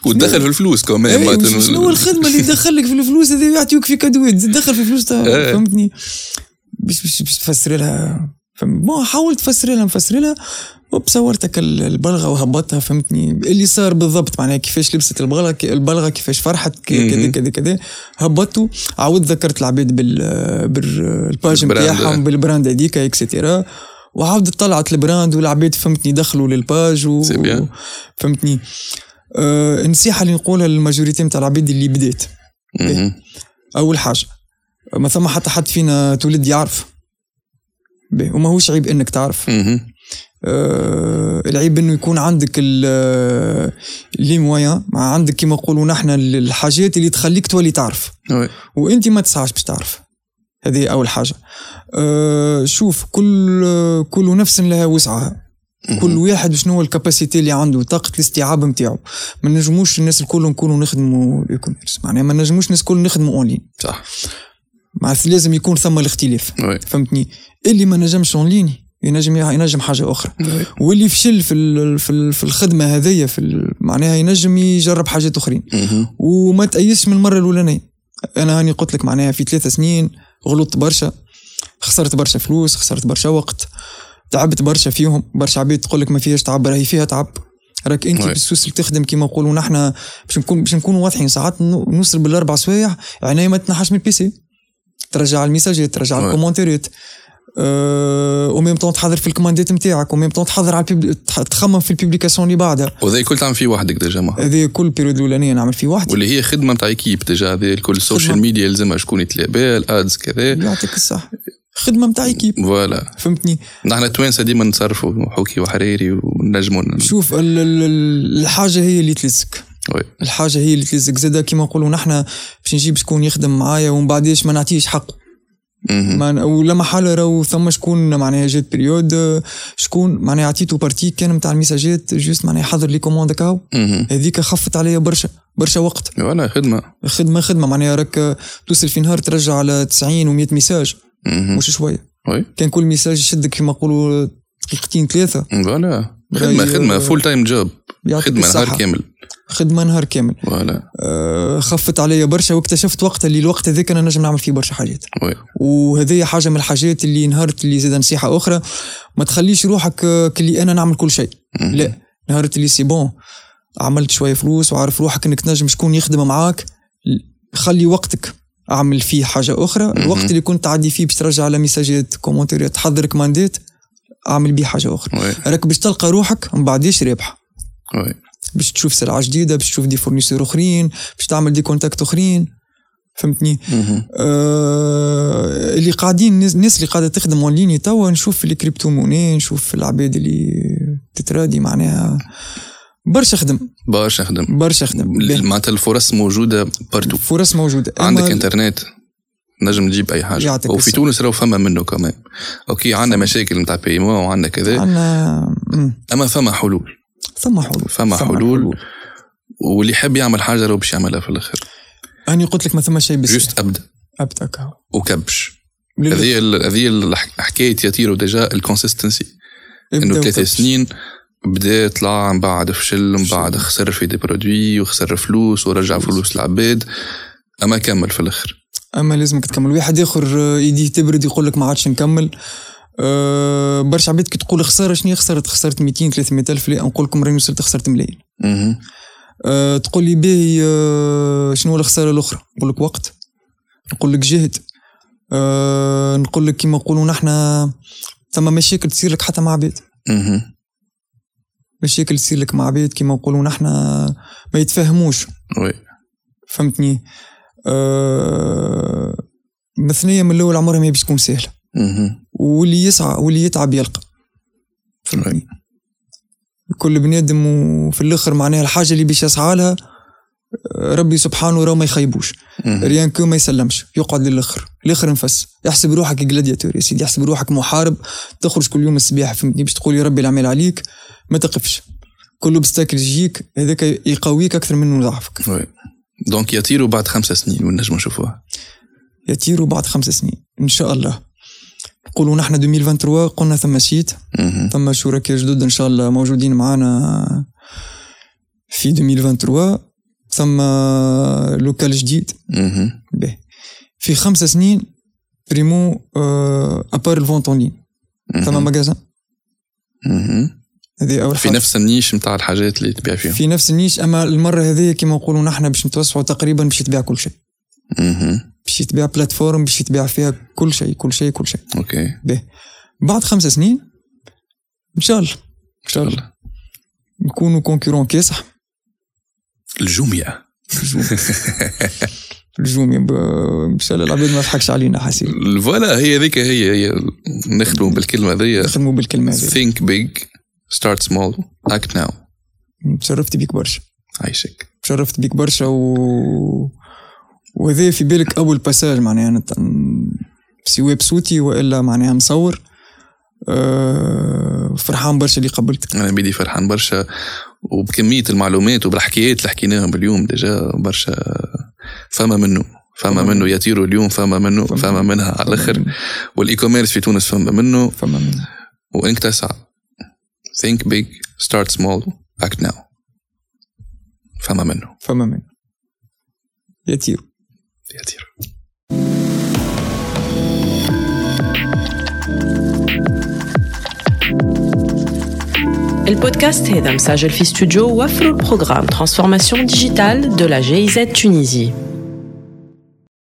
S2: وتدخل في الفلوس كمان
S1: إيه،
S2: معناتها.
S1: شنو هو الخدمه اللي تدخلك في الفلوس هذه يعطيوك في كادوات زيد دخل في فلوس تا-
S2: إيه.
S1: فهمتني باش باش باش تفسر لها فهم- بون حاولت فسر لها نفسر لها هوب صورتك ال- البلغه وهبطتها فهمتني اللي صار بالضبط معناها كيفاش لبست البلغه كي- البلغه كيفاش فرحت كي- كذا
S2: مهم.
S1: كذا كذا هبطته عاود ذكرت العباد بال بالباج
S2: بالبراند.
S1: نتاعهم بالبراند هذيك اكسترا وعاودت طلعت البراند والعباد فهمتني دخلوا للباج و...
S2: سي بيان.
S1: فهمتني آه، النصيحه اللي نقولها للماجوريتي نتاع العباد اللي بدات
S2: مهم.
S1: اول حاجه ما ثم حتى حد فينا تولد يعرف باهي، وما هوش عيب انك تعرف
S2: مهم.
S1: آه العيب انه يكون عندك ال- آه، لي مويان مع عندك كما نقولوا نحن ال- الحاجات اللي تخليك تولي تعرف
S2: وي.
S1: وانت ما تسعاش باش تعرف هذه اول حاجه آه شوف كل كل نفس لها وسعها
S2: مهم.
S1: كل واحد شنو هو الكاباسيتي اللي عنده طاقه الاستيعاب نتاعو ما نجموش الناس الكل نكونوا نخدموا الاي كوميرس معناها ما نجموش الناس الكل نخدموا اونلاين
S2: صح
S1: مع لازم يكون ثم الاختلاف
S2: وي.
S1: فهمتني اللي ما نجمش اونلاين ينجم ينجم حاجه اخرى
S2: وي.
S1: واللي فشل في ال- في ال- في الخدمه هذيا في ال- معناها ينجم يجرب حاجات اخرين
S2: مهم.
S1: وما تأيسش من المره الاولانيه انا هاني قلت لك معناها في ثلاثة سنين غلطت برشا خسرت برشا فلوس خسرت برشا وقت تعبت برشا فيهم برشا عباد تقول لك ما فيهاش تعب راهي فيها تعب راك انت
S2: وي.
S1: بالسوس اللي تخدم كيما نقولوا نحن باش نكون باش نكونوا واضحين ساعات نو- نوصل بالاربع سوايع عينيا ما تنحاش من البيسي ترجع الميساجات ترجع
S2: وي.
S1: الكومنتيرات أه وميم طون تحضر في الكوماندات نتاعك وميم طون تحضر على البيبلي... تح- تخمم في البيبليكاسيون اللي بعدها
S2: وذا الكل تعمل فيه وحدك ديجا معاه
S1: هذه كل بيريود الاولانيه نعمل فيه وحدي
S2: واللي هي خدمه نتاع ايكيب ديجا هذا الكل السوشيال ميديا يلزمها شكون يتلا بال ادز كذا
S1: يعطيك الصح خدمه نتاع ايكيب
S2: فوالا
S1: فهمتني
S2: نحن التوانسه ديما نتصرفوا حوكي وحريري ونجموا ن-
S1: شوف ال- ال- ال- الحاجه هي اللي تلزك
S2: وي.
S1: الحاجه هي اللي تلزق زاده كيما نقولوا نحنا باش نجيب شكون يخدم معايا ومن بعديش ما نعطيش حقه
S2: مهم.
S1: ما ولما حاله راهو ثم شكون معناها جات بريود آه، شكون معناها عطيته بارتي كان نتاع الميساجات جوست معناها حضر لي كوموند كاو
S2: مهم.
S1: هذيك خفت عليا برشا برشا وقت
S2: فوالا خدمه
S1: خدمه خدمه معناها راك آه، توصل في نهار ترجع على 90 و100 ميساج
S2: مهم.
S1: مش شويه
S2: وي
S1: كان كل ميساج يشدك كيما نقولوا دقيقتين ثلاثه
S2: فوالا خدمه
S1: راهي-
S2: خدمه فول تايم جوب
S1: يعطيك
S2: خدمه نهار
S1: الصحة.
S2: كامل
S1: خدمه نهار كامل
S2: فوالا
S1: آه، خفت عليا برشا واكتشفت وقتها اللي الوقت هذاك انا نجم نعمل فيه برشا حاجات
S2: وي
S1: وهذه حاجه من الحاجات اللي نهارت اللي زاد نصيحه اخرى ما تخليش روحك آه، كلي انا نعمل كل شيء
S2: مهم.
S1: لا نهارت اللي سي بون عملت شويه فلوس وعارف روحك انك تنجم شكون يخدم معاك ل- خلي وقتك اعمل فيه حاجه اخرى الوقت اللي كنت تعدي فيه باش ترجع على ميساجات كومنتاريات تحضر كماندات اعمل بيه حاجه اخرى
S2: وي
S1: راك باش تلقى روحك من بعديش رابحه
S2: وي
S1: باش تشوف سلعه جديده باش تشوف دي فورنيسور اخرين باش تعمل دي كونتاكت اخرين فهمتني
S2: مهم.
S1: آه اللي قاعدين الناس- الناس اللي قاعده تخدم اون ليني توا نشوف في الكريبتو موني نشوف في العباد اللي تترادي معناها برشا خدم
S2: باش نخدم
S1: برشا خدم باهي.
S2: معناتها الفرص موجوده بارتو
S1: فرص موجوده أما
S2: عندك انترنت نجم تجيب اي حاجه
S1: يعطيك
S2: وفي
S1: الصحة.
S2: تونس راهو فما منه كمان اوكي عندنا مشاكل نتاع بيمون وعندنا كذا
S1: عندنا مم،
S2: اما فما حلول
S1: ثم حلول
S2: فما حلول. واللي يحب يعمل حاجه راهو باش يعملها في الاخر
S1: انا قلت لك ما ثم شيء بس
S2: جوست ابدا
S1: ابدا كاو
S2: وكبش
S1: للأبد.
S2: هذه ال- هذه ال- حكايه يطيروا ديجا الكونسيستنسي
S1: ابدا
S2: انه ثلاث
S1: وكبش.
S2: سنين بدا طلع من بعد فشل من بعد خسر في دي برودوي وخسر فلوس ورجع فلوس العباد اما كمل في الاخر
S1: اما لازمك تكمل واحد اخر آه، يديه تبرد يقول لك ما عادش نكمل أه برشا عباد كي تقول خساره شنو هي خسرت خسرت 200 300 الف لا نقول لكم راني وصلت خسرت ملايين
S2: مهم.
S1: أه تقول لي باهي أه شنو هو الخساره الاخرى نقول لك وقت نقول لك جهد أه نقول لك كيما نقولوا نحنا ثم مشاكل تصير لك حتى مع عباد
S2: مهم.
S1: مشاكل تصير لك مع عباد كيما نقولوا نحنا ما يتفاهموش
S2: وي
S1: فهمتني أه مثنية من الاول عمرها ما هي باش تكون سهله
S2: مهم.
S1: واللي يسعى واللي يتعب يلقى فهمتني كل بنادم وفي الاخر معناها الحاجه اللي باش يسعى لها آه، ربي سبحانه راه ما يخيبوش
S2: مهم.
S1: ريان كو ما يسلمش يقعد للاخر الاخر نفس يحسب روحك جلادياتور يا سيدي يحسب روحك محارب تخرج كل يوم الصباح فهمتني باش تقول يا ربي العمل عليك ما تقفش كل بستاكل يجيك هذاك يقويك اكثر منه يضعفك
S2: وي دونك يطيروا بعد خمسة سنين ونجموا نشوفوها
S1: يطيروا بعد خمس سنين ان شاء الله نقولوا نحن 2023 قلنا ثم شيت
S2: مهم.
S1: ثم شركاء جدد ان شاء الله موجودين معانا في 2023 ثم لوكال جديد
S2: مهم.
S1: به في خمس سنين بريمو آه، ابار الفونت اون لين ثم
S2: مهم.
S1: مجازا
S2: مهم.
S1: هذه اول
S2: في
S1: حاجة.
S2: نفس النيش نتاع الحاجات اللي تبيع فيهم
S1: في نفس النيش اما المره هذه كما نقولوا نحن باش نتوسعوا تقريبا باش يتباع كل شيء
S2: مهم.
S1: باش يتباع بلاتفورم باش يتباع فيها كل شيء كل شيء كل شيء
S2: اوكي ان
S1: بعد خمس سنين ان شاء الله ان شاء الله
S2: الله
S1: نكونوا كونكورون كاسح
S2: الجمية
S1: الجوم الجوم يب- ان شاء الله العباد ما تضحكش علينا حسين
S2: فوالا هي ذيك هي هي نخدموا بالكلمة ذي
S1: نخدموا بالكلمه هذه
S2: think big start small act now
S1: تشرفت بيك برشا
S2: عايشك
S1: تشرفت بيك برشا و وهذا في بالك اول باساج معناها أنا ت- سواء بصوتي والا معناها مصور أه فرحان برشا اللي قبلتك
S2: انا بيدي فرحان برشا وبكمية المعلومات وبالحكايات اللي حكيناهم اليوم ديجا برشا فما منه فما منه يطيروا اليوم فما منه
S1: فما-
S2: فما منها على الاخر والاي كوميرس في تونس فما منه
S1: فما منها.
S2: وانك تسعى think big start small act now فما منه
S1: فما منه يطير
S2: يطير
S3: البودكاست هذا مسجل في استوديو وفر البروغرام ترانسفورماسيون ديجيتال دو لا جي تونيزي